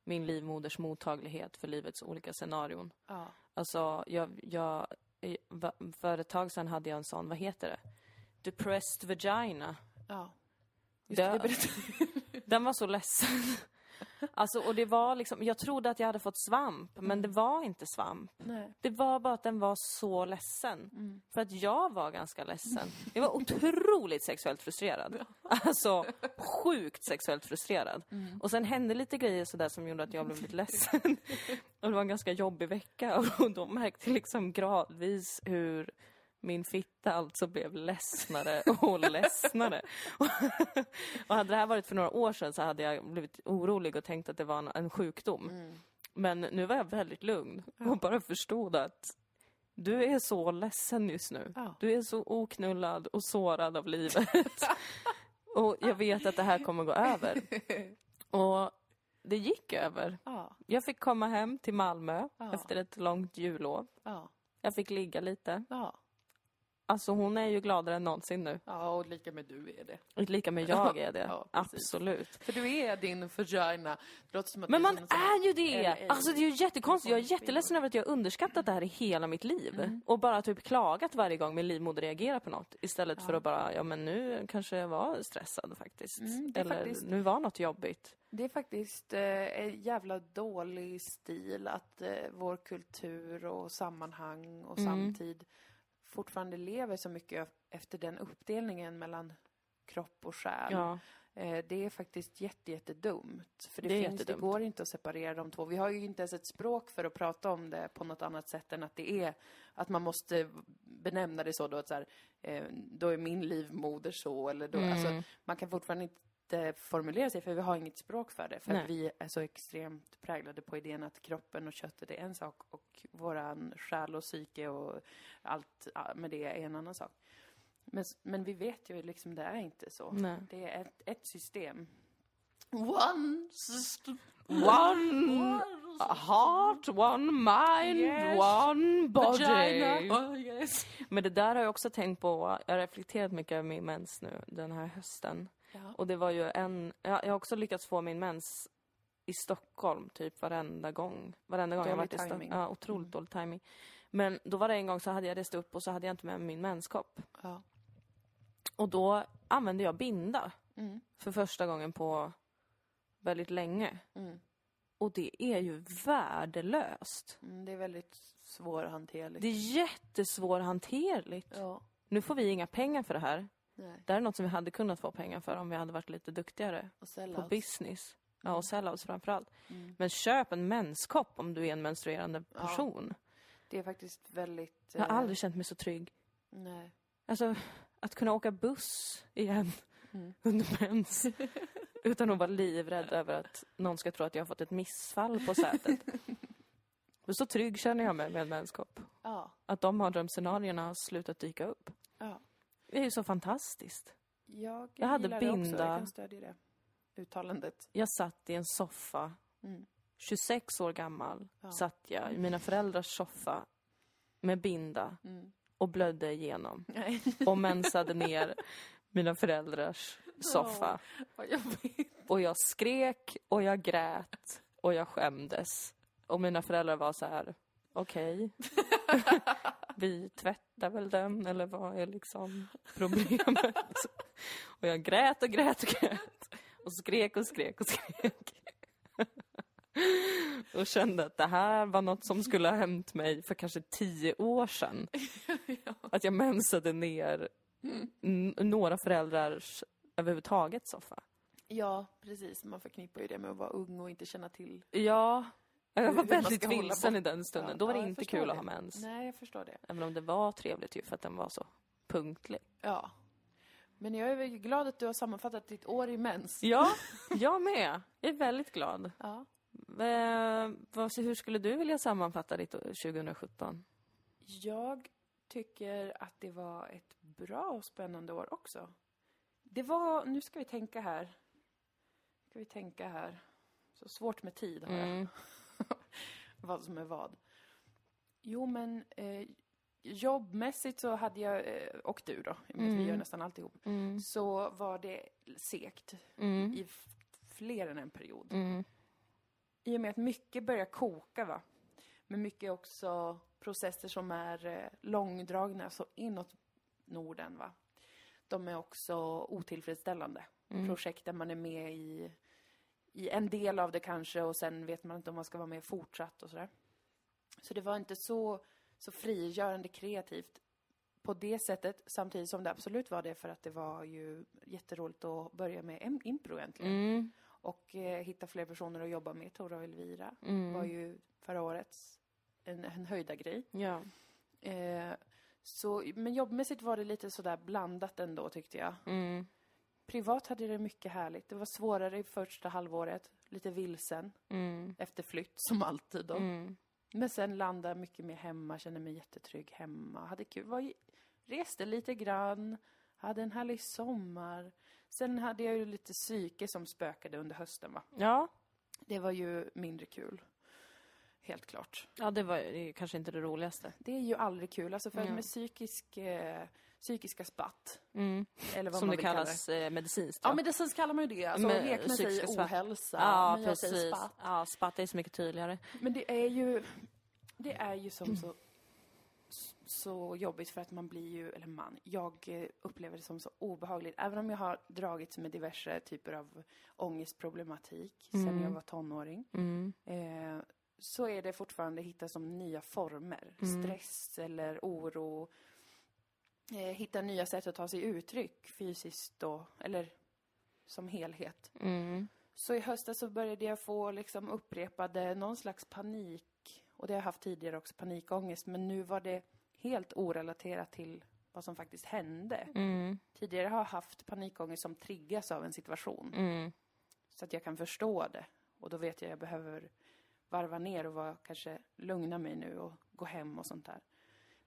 Speaker 2: min livmoders mottaglighet för livets olika scenarion.
Speaker 1: Ja.
Speaker 2: Alltså, jag, jag, eh, va- för ett tag sedan hade jag en sån, vad heter det? Depressed vagina.
Speaker 1: ja. Just det,
Speaker 2: Dö.
Speaker 1: det berättade
Speaker 2: Den var så ledsen. Alltså, och det var liksom, jag trodde att jag hade fått svamp,
Speaker 1: Mm.
Speaker 2: men det var inte svamp.
Speaker 1: Nej.
Speaker 2: Det var bara att den var så ledsen. För att jag var ganska ledsen. Jag var otroligt sexuellt frustrerad. Alltså, sjukt sexuellt frustrerad. Och sen hände lite grejer sådär som gjorde att jag blev lite ledsen. Och det var en ganska jobbig vecka och då märkte jag liksom gradvis hur min fitta alltså blev ledsnare och ledsnare. och hade det här varit för några år sedan så hade jag blivit orolig och tänkt att det var en, en sjukdom. Men nu var jag väldigt lugn och bara förstod att du är så ledsen just nu.
Speaker 1: Ja.
Speaker 2: Du är så oknullad och sårad av livet. och jag vet att det här kommer gå över. Och det gick över.
Speaker 1: Ja,
Speaker 2: Jag fick komma hem till Malmö
Speaker 1: Ja.
Speaker 2: efter ett långt jullov.
Speaker 1: ja,
Speaker 2: Jag fick ligga lite.
Speaker 1: ja.
Speaker 2: Alltså hon är ju gladare än någonsin nu.
Speaker 1: Ja, och lika med du är det.
Speaker 2: Lika med jag är det.
Speaker 1: Ja, precis.
Speaker 2: Absolut.
Speaker 1: För du är din vagina, trots som att
Speaker 2: Men
Speaker 1: det
Speaker 2: man
Speaker 1: som en sån-
Speaker 2: är ju
Speaker 1: eller-
Speaker 2: det! Alltså det är ju jättekonstigt. Jag är jätteledsen över att jag har underskattat det här i hela mitt liv.
Speaker 1: Mm.
Speaker 2: Och bara typ klagat varje gång min livmoder reagerar på något. Istället för att bara, ja men nu kanske jag var stressad faktiskt.
Speaker 1: Mm, det är
Speaker 2: Eller
Speaker 1: faktiskt-
Speaker 2: nu var något jobbigt.
Speaker 1: Det är faktiskt eh, en jävla dålig stil att eh, vår kultur och sammanhang och samtid fortfarande lever så mycket efter den uppdelningen mellan kropp och själ.
Speaker 2: Ja.
Speaker 1: Eh, det är faktiskt jätte, jättedumt. För det,
Speaker 2: Det är
Speaker 1: finns, det
Speaker 2: jättedumt.
Speaker 1: går inte att separera de två. Vi har ju inte ens ett språk för att prata om det på något annat sätt än att det är att man måste benämna det så då att så här, eh, då är min livmoder så eller då,
Speaker 2: Mm.
Speaker 1: alltså man kan fortfarande inte formulera sig för vi har inget språk för det. För
Speaker 2: Nej.
Speaker 1: att vi är så extremt präglade på idén att kroppen och köttet är en sak och våran själ och psyke och allt ah, med det är en annan sak. Men, s- men vi vet ju liksom, det är inte så.
Speaker 2: Nej.
Speaker 1: Det är ett, ett system. One system.
Speaker 2: One heart, one mind,
Speaker 1: Yes.
Speaker 2: one body.
Speaker 1: Vagina. Oh, yes.
Speaker 2: Men det där har jag också tänkt på. Jag har reflekterat mycket över min mens nu den här hösten.
Speaker 1: Ja.
Speaker 2: Och det var ju en... Jag, jag har också lyckats få min mens i Stockholm typ varenda gång. Varenda gång jag
Speaker 1: Dålig
Speaker 2: varit i Stockholm.
Speaker 1: timing. Mm.
Speaker 2: Ja, otroligt dålig timing. Men då var det en gång så hade jag rest upp och så hade jag inte med mig min menskopp.
Speaker 1: Ja.
Speaker 2: Och då använde jag binda. För första gången på väldigt länge.
Speaker 1: Mm.
Speaker 2: Och det är ju värdelöst.
Speaker 1: Mm, det är väldigt svårhanterligt.
Speaker 2: Det är jättesvårhanterligt.
Speaker 1: Ja.
Speaker 2: Nu får vi inga pengar för det här.
Speaker 1: Nej.
Speaker 2: Det här är något som vi hade kunnat få pengar för om vi hade varit lite duktigare
Speaker 1: Och
Speaker 2: på
Speaker 1: sellouts. Mm.
Speaker 2: business. Ja, och sellouts framförallt. Men köp en menskopp om du är en menstruerande person.
Speaker 1: Det är faktiskt väldigt...
Speaker 2: Jag har
Speaker 1: eh,
Speaker 2: aldrig känt mig så trygg.
Speaker 1: Nej.
Speaker 2: Alltså, att kunna åka buss igen
Speaker 1: Mm.
Speaker 2: under mens. Utan att vara livrädd över att någon ska tro att jag har fått ett missfall på sätet. Men så trygg känner jag mig med en menskopp.
Speaker 1: Ja.
Speaker 2: Att de mardrömsscenarierna har slutat dyka upp.
Speaker 1: ja.
Speaker 2: Det är ju så fantastiskt.
Speaker 1: Jag,
Speaker 2: Jag hade
Speaker 1: gillar det också.
Speaker 2: binda.
Speaker 1: Jag kan stödja det uttalandet. Mm.
Speaker 2: Jag satt i en soffa, 26 år gammal, satt jag i mina föräldrars soffa med binda och blödde igenom
Speaker 1: Mm. Nej,
Speaker 2: och mensade ner mina föräldrars soffa.
Speaker 1: vad jobbigt.
Speaker 2: Och jag skrek och jag grät och jag skämdes. Och mina föräldrar var så här, okej, vi tvättar väl den eller vad är liksom problemet? och jag grät och grät och grät och skrek och skrek och skrek. och kände att det här var något som skulle ha hänt mig för kanske tio år sedan. Att jag mensade ner n- några föräldrars överhuvudtaget soffa.
Speaker 1: Ja, precis. Man förknippar ju det med att vara ung och inte känna till.
Speaker 2: Ja, jag
Speaker 1: Hur-
Speaker 2: var
Speaker 1: hur man
Speaker 2: väldigt
Speaker 1: ska hålla
Speaker 2: vilsen
Speaker 1: bort-
Speaker 2: i den stunden.
Speaker 1: Ja,
Speaker 2: Då var det
Speaker 1: ja, jag
Speaker 2: inte
Speaker 1: förstår
Speaker 2: kul att
Speaker 1: det.
Speaker 2: ha mens.
Speaker 1: Nej, jag förstår det.
Speaker 2: Även om det var trevligt ju för att den var så punktlig.
Speaker 1: Ja. Men jag är väl glad att du har sammanfattat ditt år i mens.
Speaker 2: Ja, jag med. Jag är väldigt glad.
Speaker 1: Ja.
Speaker 2: Eh, vad, hur skulle du vilja sammanfatta ditt år 2017?
Speaker 1: Jag tycker att det var ett bra och spännande år också. Det var, nu ska vi tänka här. Ska vi tänka här. Så svårt med tid har jag.
Speaker 2: Mm.
Speaker 1: vad som är vad. Jo, men eh, jobbmässigt så hade jag, eh, och du då, i och med att vi
Speaker 2: Mm.
Speaker 1: gör nästan alltihop,
Speaker 2: Mm.
Speaker 1: så var det segt
Speaker 2: Mm.
Speaker 1: i f- fler än en period.
Speaker 2: Mm.
Speaker 1: I och med att mycket börjar koka, va? men mycket också processer som är eh, långdragna, så inåt Norden. Va? De är också otillfredsställande.
Speaker 2: Mm.
Speaker 1: Projekt där man är med i, i en del av det kanske och sen vet man inte om man ska vara med fortsatt och sådär. Så det var inte så, så frigörande kreativt på det sättet, samtidigt som det absolut var det för att det var ju jätteroligt att börja med em- impro egentligen.
Speaker 2: Mm.
Speaker 1: Och eh, hitta fler personer att jobba med. Tora och Elvira
Speaker 2: Mm.
Speaker 1: var ju förra årets en, en höjda grej.
Speaker 2: Ja.
Speaker 1: Eh, så, men jobbmässigt var det lite sådär blandat ändå tyckte jag.
Speaker 2: Mm.
Speaker 1: Privat hade det mycket härligt. Det var svårare i första halvåret. Lite vilsen
Speaker 2: Mm.
Speaker 1: efter flytt som alltid då.
Speaker 2: Mm.
Speaker 1: Men sen landade jag mycket mer hemma, kände mig jättetrygg hemma. Hade kul. Var, ju- reste lite grann, hade en härlig sommar. Sen hade jag ju lite psyke som spökade under hösten va.
Speaker 2: Ja.
Speaker 1: Det var ju mindre kul. Helt klart.
Speaker 2: ja, det var det är ju kanske inte det roligaste.
Speaker 1: Det är ju aldrig kul. Alltså för
Speaker 2: Ja.
Speaker 1: med psykisk, eh, psykiska spatt,
Speaker 2: Mm.
Speaker 1: eller vad
Speaker 2: Som
Speaker 1: man
Speaker 2: det
Speaker 1: vill kalla det.
Speaker 2: kallas eh, medicinskt.
Speaker 1: Ja, medicinskt kallar man ju det. Alltså,
Speaker 2: Men
Speaker 1: lekmän
Speaker 2: psykiska
Speaker 1: säger
Speaker 2: spatt.
Speaker 1: ohälsa,
Speaker 2: ja
Speaker 1: men jag säger
Speaker 2: precis.
Speaker 1: spatt.
Speaker 2: Ja, spatt är så mycket tydligare.
Speaker 1: Men det är ju, det är ju som så, så jobbigt för att man blir ju, eller man, jag eh, upplever det som så obehagligt. Även om jag har dragits med diverse typer av ångestproblematik sen
Speaker 2: Mm.
Speaker 1: jag var tonåring.
Speaker 2: Mm.
Speaker 1: Eh, så är det fortfarande hitta som nya former.
Speaker 2: Mm.
Speaker 1: Stress eller oro. Eh, hitta nya sätt att ta sig uttryck fysiskt då, eller som helhet.
Speaker 2: Mm.
Speaker 1: Så i höstas så började jag få liksom upprepade någon slags panik. Och det har jag haft tidigare också, panikångest. Men nu var det helt orelaterat till vad som faktiskt hände.
Speaker 2: Mm.
Speaker 1: Tidigare har jag haft panikångest som triggas av en situation
Speaker 2: Mm.
Speaker 1: så att jag kan förstå det. Och då vet jag jag behöver varva ner och vara, kanske lugna mig nu och gå hem och sånt där.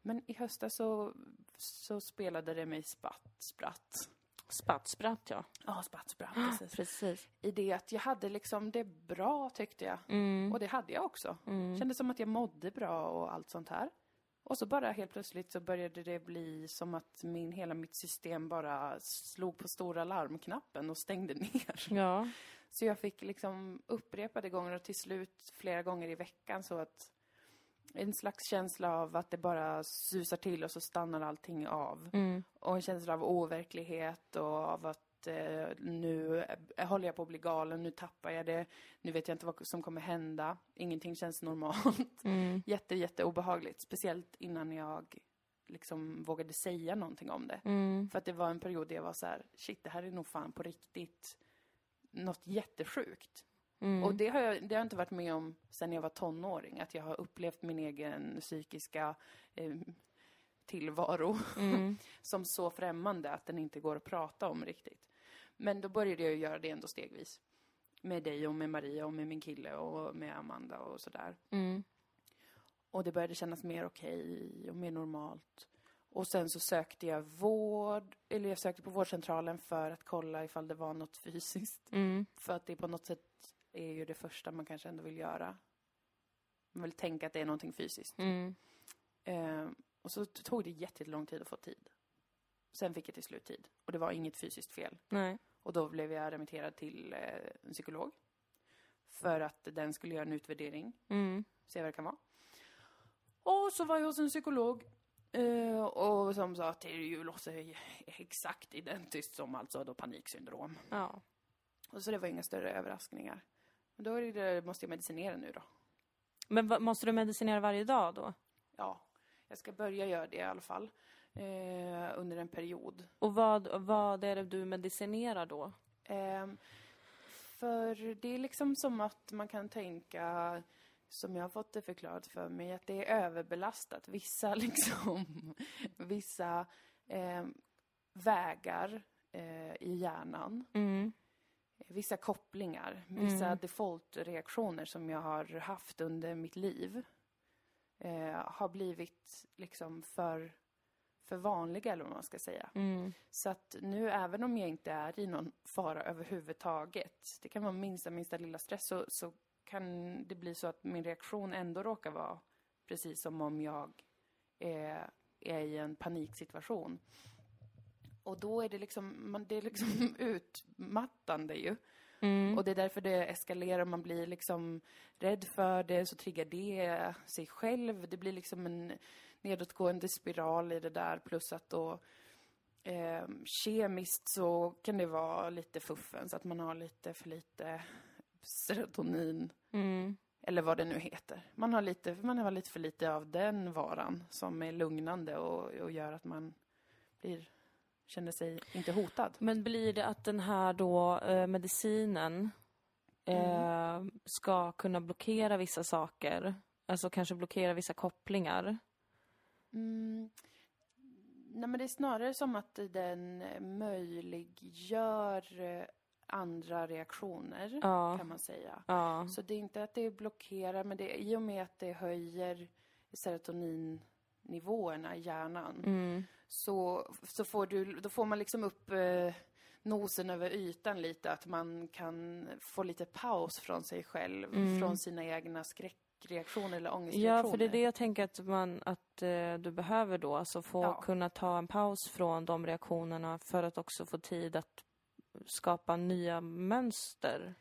Speaker 1: Men i höstas så, så spelade det mig spatt, spratt.
Speaker 2: Spatt, spratt ja.
Speaker 1: Ja, spatt, spratt, precis.
Speaker 2: Precis.
Speaker 1: I det att jag hade liksom det bra tyckte jag.
Speaker 2: Mm.
Speaker 1: Och det hade jag också.
Speaker 2: Mm.
Speaker 1: Kändes som att jag mådde bra och allt sånt här. Och så bara helt plötsligt så började det bli som att min, hela mitt system bara slog på stora larmknappen och stängde ner.
Speaker 2: Ja.
Speaker 1: Så jag fick liksom upprepade gånger och till slut flera gånger i veckan så att en slags känsla av att det bara susar till och så stannar allting av.
Speaker 2: Mm.
Speaker 1: Och en känsla av overklighet och av att eh, nu eh, håller jag på att bli galen, nu tappar jag det, nu vet jag inte vad som kommer hända, ingenting känns normalt.
Speaker 2: Mm.
Speaker 1: Jätte, jätte obehagligt, speciellt innan jag liksom vågade säga någonting om det.
Speaker 2: Mm.
Speaker 1: För att det var en period där jag var så här, shit det här är nog fan på riktigt något jättesjukt.
Speaker 2: Mm.
Speaker 1: Och det har, jag, det har jag inte varit med om sedan jag var tonåring, att jag har upplevt min egen psykiska eh, tillvaro
Speaker 2: Mm.
Speaker 1: som så främmande att den inte går att prata om riktigt. Men då började jag ju göra det ändå stegvis. Med dig och med Maria och med min kille och med Amanda och sådär.
Speaker 2: Mm.
Speaker 1: Och det började kännas mer okej och mer normalt. Och sen så sökte jag vård, eller jag sökte på vårdcentralen för att kolla ifall det var något fysiskt.
Speaker 2: Mm.
Speaker 1: För att det på något sätt är ju det första man kanske ändå vill göra. Man vill tänka att det är någonting fysiskt.
Speaker 2: Mm.
Speaker 1: Eh, Och så tog det jättelång tid att få tid. Sen fick jag till slut tid. Och det var inget fysiskt fel.
Speaker 2: Nej.
Speaker 1: Och då blev jag remitterad till eh, en psykolog. För att den skulle göra en utvärdering,
Speaker 2: Mm.
Speaker 1: se vad det kan vara. Och så var jag hos en psykolog. eh, och som sa att det ju låter ju exakt identiskt som alltså då paniksyndrom.
Speaker 2: Ja.
Speaker 1: Och så det var inga större överraskningar. Men då är det, måste jag medicinera nu då.
Speaker 2: Men va, måste du medicinera varje dag då?
Speaker 1: Ja, jag ska börja göra det i alla fall. Eh, under en period.
Speaker 2: Och vad, vad är det du medicinerar då?
Speaker 1: Ehm, för det är liksom som att man kan tänka, som jag har fått det förklarat för mig, att det är överbelastat. Vissa liksom, vissa ehm, vägar eh, i hjärnan,
Speaker 2: Mm.
Speaker 1: vissa kopplingar, vissa default-reaktioner som jag har haft under mitt liv eh, har blivit liksom för, för vanliga, eller vad man ska säga.
Speaker 2: Mm.
Speaker 1: Så att nu, även om jag inte är i någon fara överhuvudtaget, det kan vara minsta, minsta lilla stress, så, så kan det bli så att min reaktion ändå råkar vara precis som om jag är, är i en paniksituation. Och då är det liksom, man, det är liksom utmattande ju.
Speaker 2: Mm.
Speaker 1: Och det är därför det eskalerar, man blir liksom rädd för det, så triggar det sig själv. Det blir liksom en nedåtgående spiral i det där, plus att då eh, kemiskt så kan det vara lite fuffens, att man har lite för lite serotonin,
Speaker 2: Mm.
Speaker 1: eller vad det nu heter. Man har lite, man har lite för lite av den varan som är lugnande och, och gör att man blir, känner sig inte hotad.
Speaker 2: Men blir det att den här då eh, medicinen eh, ska kunna blockera vissa saker? Alltså kanske blockera vissa kopplingar?
Speaker 1: Mm. Nej, men det är snarare som att den möjliggör eh, andra reaktioner,
Speaker 2: Ja.
Speaker 1: kan man säga.
Speaker 2: Ja.
Speaker 1: Så det är inte att det blockerar, men det, i och med att det höjer serotoninnivåerna i hjärnan
Speaker 2: Mm.
Speaker 1: så, så får, du, då får man liksom upp eh, nosen över ytan lite, att man kan få lite paus från sig själv,
Speaker 2: Mm.
Speaker 1: från sina egna skräckreaktioner eller ångestreaktioner.
Speaker 2: Ja, för det är det jag tänker att, man, att eh, du behöver då, alltså få
Speaker 1: Ja.
Speaker 2: kunna ta en paus från de reaktionerna för att också få tid att skapa nya mönster,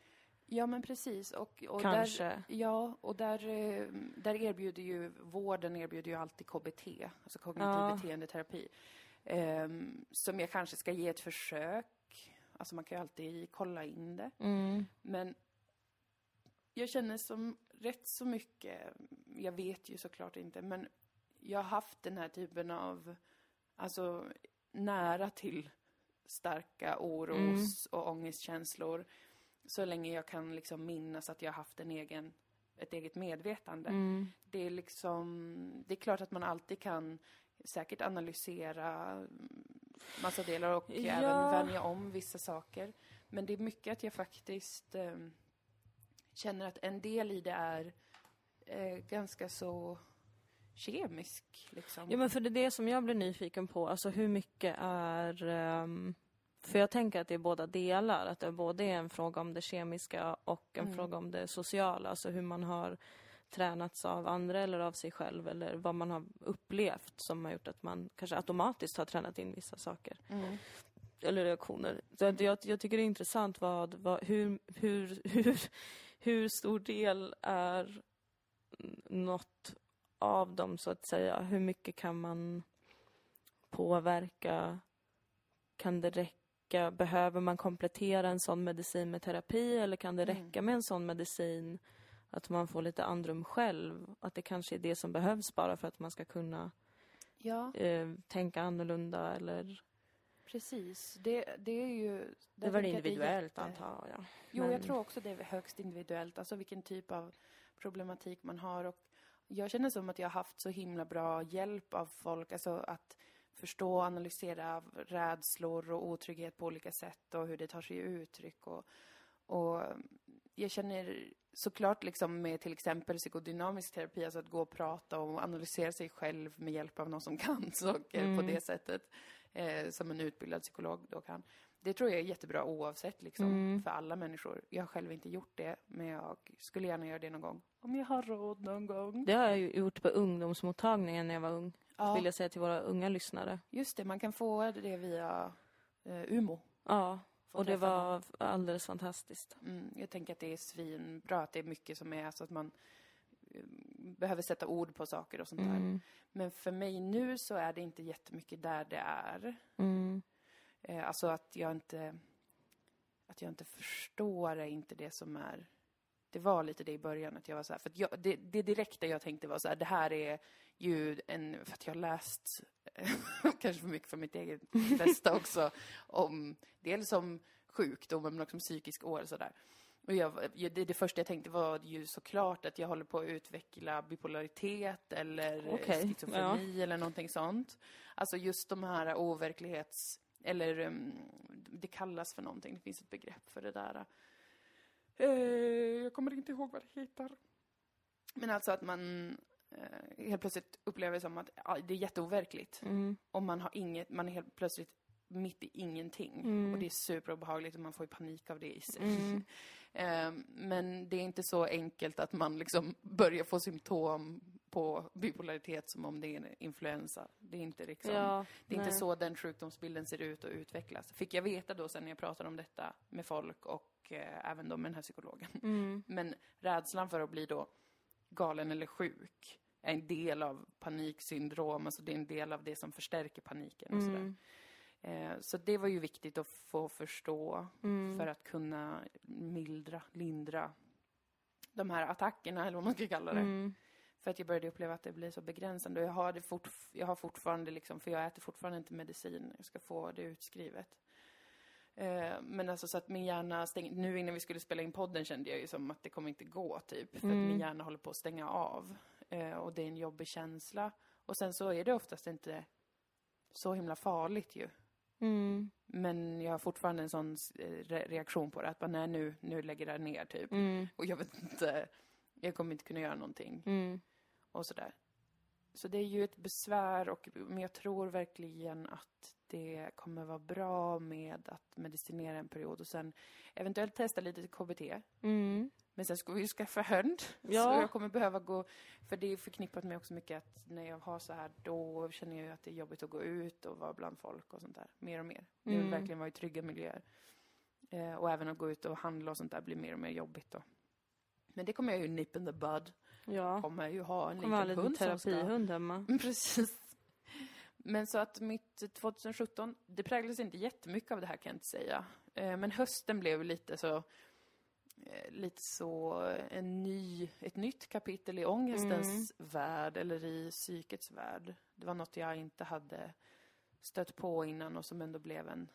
Speaker 1: Ja, men precis. Och, och där,
Speaker 2: kanske.
Speaker 1: Ja, och där, eh, där erbjuder ju vården erbjuder ju alltid KBT, alltså kognitiv
Speaker 2: Ja.
Speaker 1: beteendeterapi. ehm, som jag kanske ska ge ett försök. Alltså man kan ju alltid kolla in det.
Speaker 2: Mm.
Speaker 1: Men jag känner som rätt så mycket, jag vet ju såklart inte, men jag har haft den här typen av, alltså nära till starka oros och ångestkänslor så länge jag kan liksom minnas att jag har haft en egen, ett eget medvetande.
Speaker 2: Mm.
Speaker 1: Det är liksom, det är klart att man alltid kan säkert analysera massa delar och
Speaker 2: Ja.
Speaker 1: även vänja om vissa saker. Men det är mycket att jag faktiskt eh, känner att en del i det är eh, ganska så kemisk liksom.
Speaker 2: Ja, men för det är det som jag blir nyfiken på. Alltså hur mycket är... ehm, för jag tänker att det är båda delar. Att det både är en fråga om det kemiska och en fråga om det sociala. Alltså hur man har tränats av andra eller av sig själv eller vad man har upplevt som har gjort att man kanske automatiskt har tränat in vissa saker
Speaker 1: Mm.
Speaker 2: eller reaktioner. Så att jag, jag tycker det är intressant vad, vad, hur, hur, hur, hur stor del är något av dem, så att säga? Hur mycket kan man påverka? Kan det räcka? Behöver man komplettera en sån medicin med terapi eller kan det
Speaker 1: Mm.
Speaker 2: räcka med en sån medicin att man får lite andrum själv? Att det kanske är det som behövs bara för att man ska kunna
Speaker 1: Ja,
Speaker 2: eh, tänka annorlunda eller...
Speaker 1: precis. Det, det är ju... där
Speaker 2: Det var
Speaker 1: tänker jag att
Speaker 2: individuellt
Speaker 1: jätte-
Speaker 2: antar jag.
Speaker 1: Jo,
Speaker 2: Men-
Speaker 1: jag tror också det är högst individuellt, alltså vilken typ av problematik man har. Och jag känner som att jag har haft så himla bra hjälp av folk, alltså att förstå och analysera rädslor och otrygghet på olika sätt och hur det tar sig uttryck. Och, och jag känner såklart liksom med till exempel psykodynamisk terapi, alltså att gå och prata och analysera sig själv med hjälp av någon som kan saker på det sättet, eh, som en utbildad psykolog då kan. Det tror jag är jättebra oavsett liksom, för alla människor. Jag har själv inte gjort det, men jag skulle gärna göra det någon gång. Om jag har råd någon gång.
Speaker 2: Det har jag ju gjort på ungdomsmottagningen när jag var ung.
Speaker 1: Ja.
Speaker 2: vill jag säga till våra unga lyssnare.
Speaker 1: Just det, man kan få det via eh, Umo.
Speaker 2: Ja,
Speaker 1: Få
Speaker 2: och det
Speaker 1: träffa någon.
Speaker 2: var alldeles fantastiskt.
Speaker 1: Mm, jag tänker att det är svinbra, att det är mycket som är så att man eh, behöver sätta ord på saker och sånt där.
Speaker 2: Mm.
Speaker 1: Men för mig nu så är det inte jättemycket där det är.
Speaker 2: Mm.
Speaker 1: Eh, alltså att jag inte... Att jag inte förstår är inte det som är... Det var lite det i början, att jag var så här, för att jag, det, det direkta jag tänkte var så här, det här är ju en, för att jag har läst, kanske för mycket för mitt eget bästa också, om, dels om sjukdom men också om psykisk ohälsa där. Och jag, jag, det, det första jag tänkte var ju såklart att jag håller på att utveckla bipolaritet eller
Speaker 2: Okej,
Speaker 1: schizofreni eller någonting sånt. Alltså just de här overklighets... Eller um, det kallas för någonting, det finns ett begrepp för det där. Eh, jag kommer inte ihåg vad det heter. Men alltså att man eh, helt plötsligt upplever det som att ja, det är jätteoverkligt.
Speaker 2: Mm.
Speaker 1: Och man har inget, man är helt plötsligt mitt i ingenting.
Speaker 2: Mm.
Speaker 1: Och det är superobehagligt och man får ju panik av det i sig. Eh, men det är inte så enkelt att man liksom börjar få symptom på bipolaritet som om det är en influensa. Det är inte liksom...
Speaker 2: Ja,
Speaker 1: Det är inte
Speaker 2: nej.
Speaker 1: så den sjukdomsbilden ser ut och utvecklas. Fick jag veta då sen när jag pratade om detta med folk och eh, även då med den här psykologen.
Speaker 2: Mm.
Speaker 1: Men rädslan för att bli då galen eller sjuk är en del av paniksyndrom, alltså det är en del av det som förstärker paniken och sådär.
Speaker 2: Mm.
Speaker 1: Eh, så det var ju viktigt att få förstå
Speaker 2: Mm.
Speaker 1: för att kunna mildra, lindra de här attackerna eller vad man ska kalla det.
Speaker 2: Mm.
Speaker 1: För att jag började uppleva att det blir så begränsande. Och jag har, det fortf- jag har fortfarande liksom, för jag äter fortfarande inte medicin. Jag ska få det utskrivet. Eh, men alltså så att min hjärna stäng- nu innan vi skulle spela in podden kände jag ju som att det kommer inte gå typ. För att min hjärna håller på att stänga av. Eh, och det är en jobbig känsla. Och sen så är det oftast inte så himla farligt ju.
Speaker 2: Mm.
Speaker 1: Men jag har fortfarande en sån eh, re- reaktion på det. Att bara, nej nu, nu lägger det här ner typ.
Speaker 2: Mm.
Speaker 1: Och jag vet inte, jag kommer inte kunna göra någonting
Speaker 2: Mm.
Speaker 1: och sådär. Så det är ju ett besvär, och, men jag tror verkligen att det kommer vara bra med att medicinera en period och sen eventuellt testa lite KBT.
Speaker 2: Mm.
Speaker 1: Men sen ska vi ju skaffa hund.
Speaker 2: Ja.
Speaker 1: Så jag kommer behöva gå, för det är förknippat med också mycket att när jag har så här då känner jag ju att det är jobbigt att gå ut och vara bland folk och sånt där. Mer och mer. Jag vill
Speaker 2: Mm.
Speaker 1: verkligen vara i trygga miljöer. Eh, och även att gå ut och handla och sånt där blir mer och mer jobbigt då. Men det kommer jag ju nip in the bud
Speaker 2: Ja,
Speaker 1: kommer ju ha en
Speaker 2: kommer ha en
Speaker 1: liten
Speaker 2: liten
Speaker 1: hund som ska...
Speaker 2: terapihund hemma.
Speaker 1: Mm, Precis. Men så att mitt 2017, det präglades inte jättemycket av det här kan jag inte säga. Eh, Men hösten blev lite så, eh, lite så eh, en ny, ett nytt kapitel i ångestens värld, eller i psykets värld. Det var något jag inte hade stött på innan och som ändå blev en,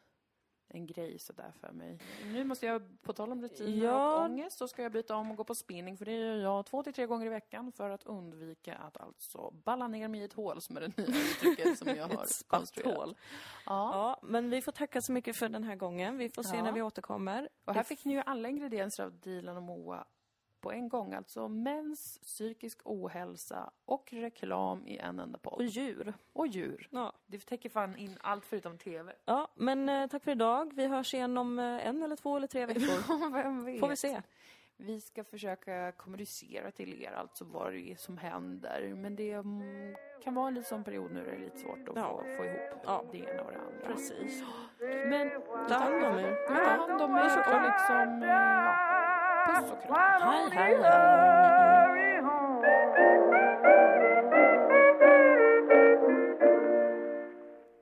Speaker 1: en grej sådär för mig. Nu måste jag, på tal om rutiner
Speaker 2: Ja.
Speaker 1: och ångest, så ska jag byta om och gå på spinning för det gör jag två till tre gånger i veckan för att undvika att alltså balla ner mig i ett hål som är det nya uttrycket som jag har
Speaker 2: Ett
Speaker 1: konstruerat.
Speaker 2: spatthål.
Speaker 1: Ja.
Speaker 2: Ja, men vi får tacka så mycket för den här gången. Vi får se
Speaker 1: Ja.
Speaker 2: när vi återkommer.
Speaker 1: Och här fick ni ju alla ingredienser av Dilan och Moa på en gång, alltså mens, psykisk ohälsa och reklam i en enda
Speaker 2: Och
Speaker 1: podd.
Speaker 2: djur.
Speaker 1: Och djur.
Speaker 2: Ja.
Speaker 1: Det täcker fan in allt förutom TV.
Speaker 2: ja, men eh, tack för idag. Vi hörs igen om eh, en eller två eller tre veckor.
Speaker 1: Vem vet?
Speaker 2: Får vi se.
Speaker 1: Vi ska försöka kommunicera till er alltså vad det är som händer. Men det mm, kan vara en liten sån period nu där det är lite svårt att
Speaker 2: Ja.
Speaker 1: få, få ihop
Speaker 2: Ja.
Speaker 1: det ena och det andra.
Speaker 2: Precis.
Speaker 1: Men
Speaker 2: Ta hand om er.
Speaker 1: ta hand om er och liksom, eh, ja, puss och kram.
Speaker 2: Hej, hej, hej.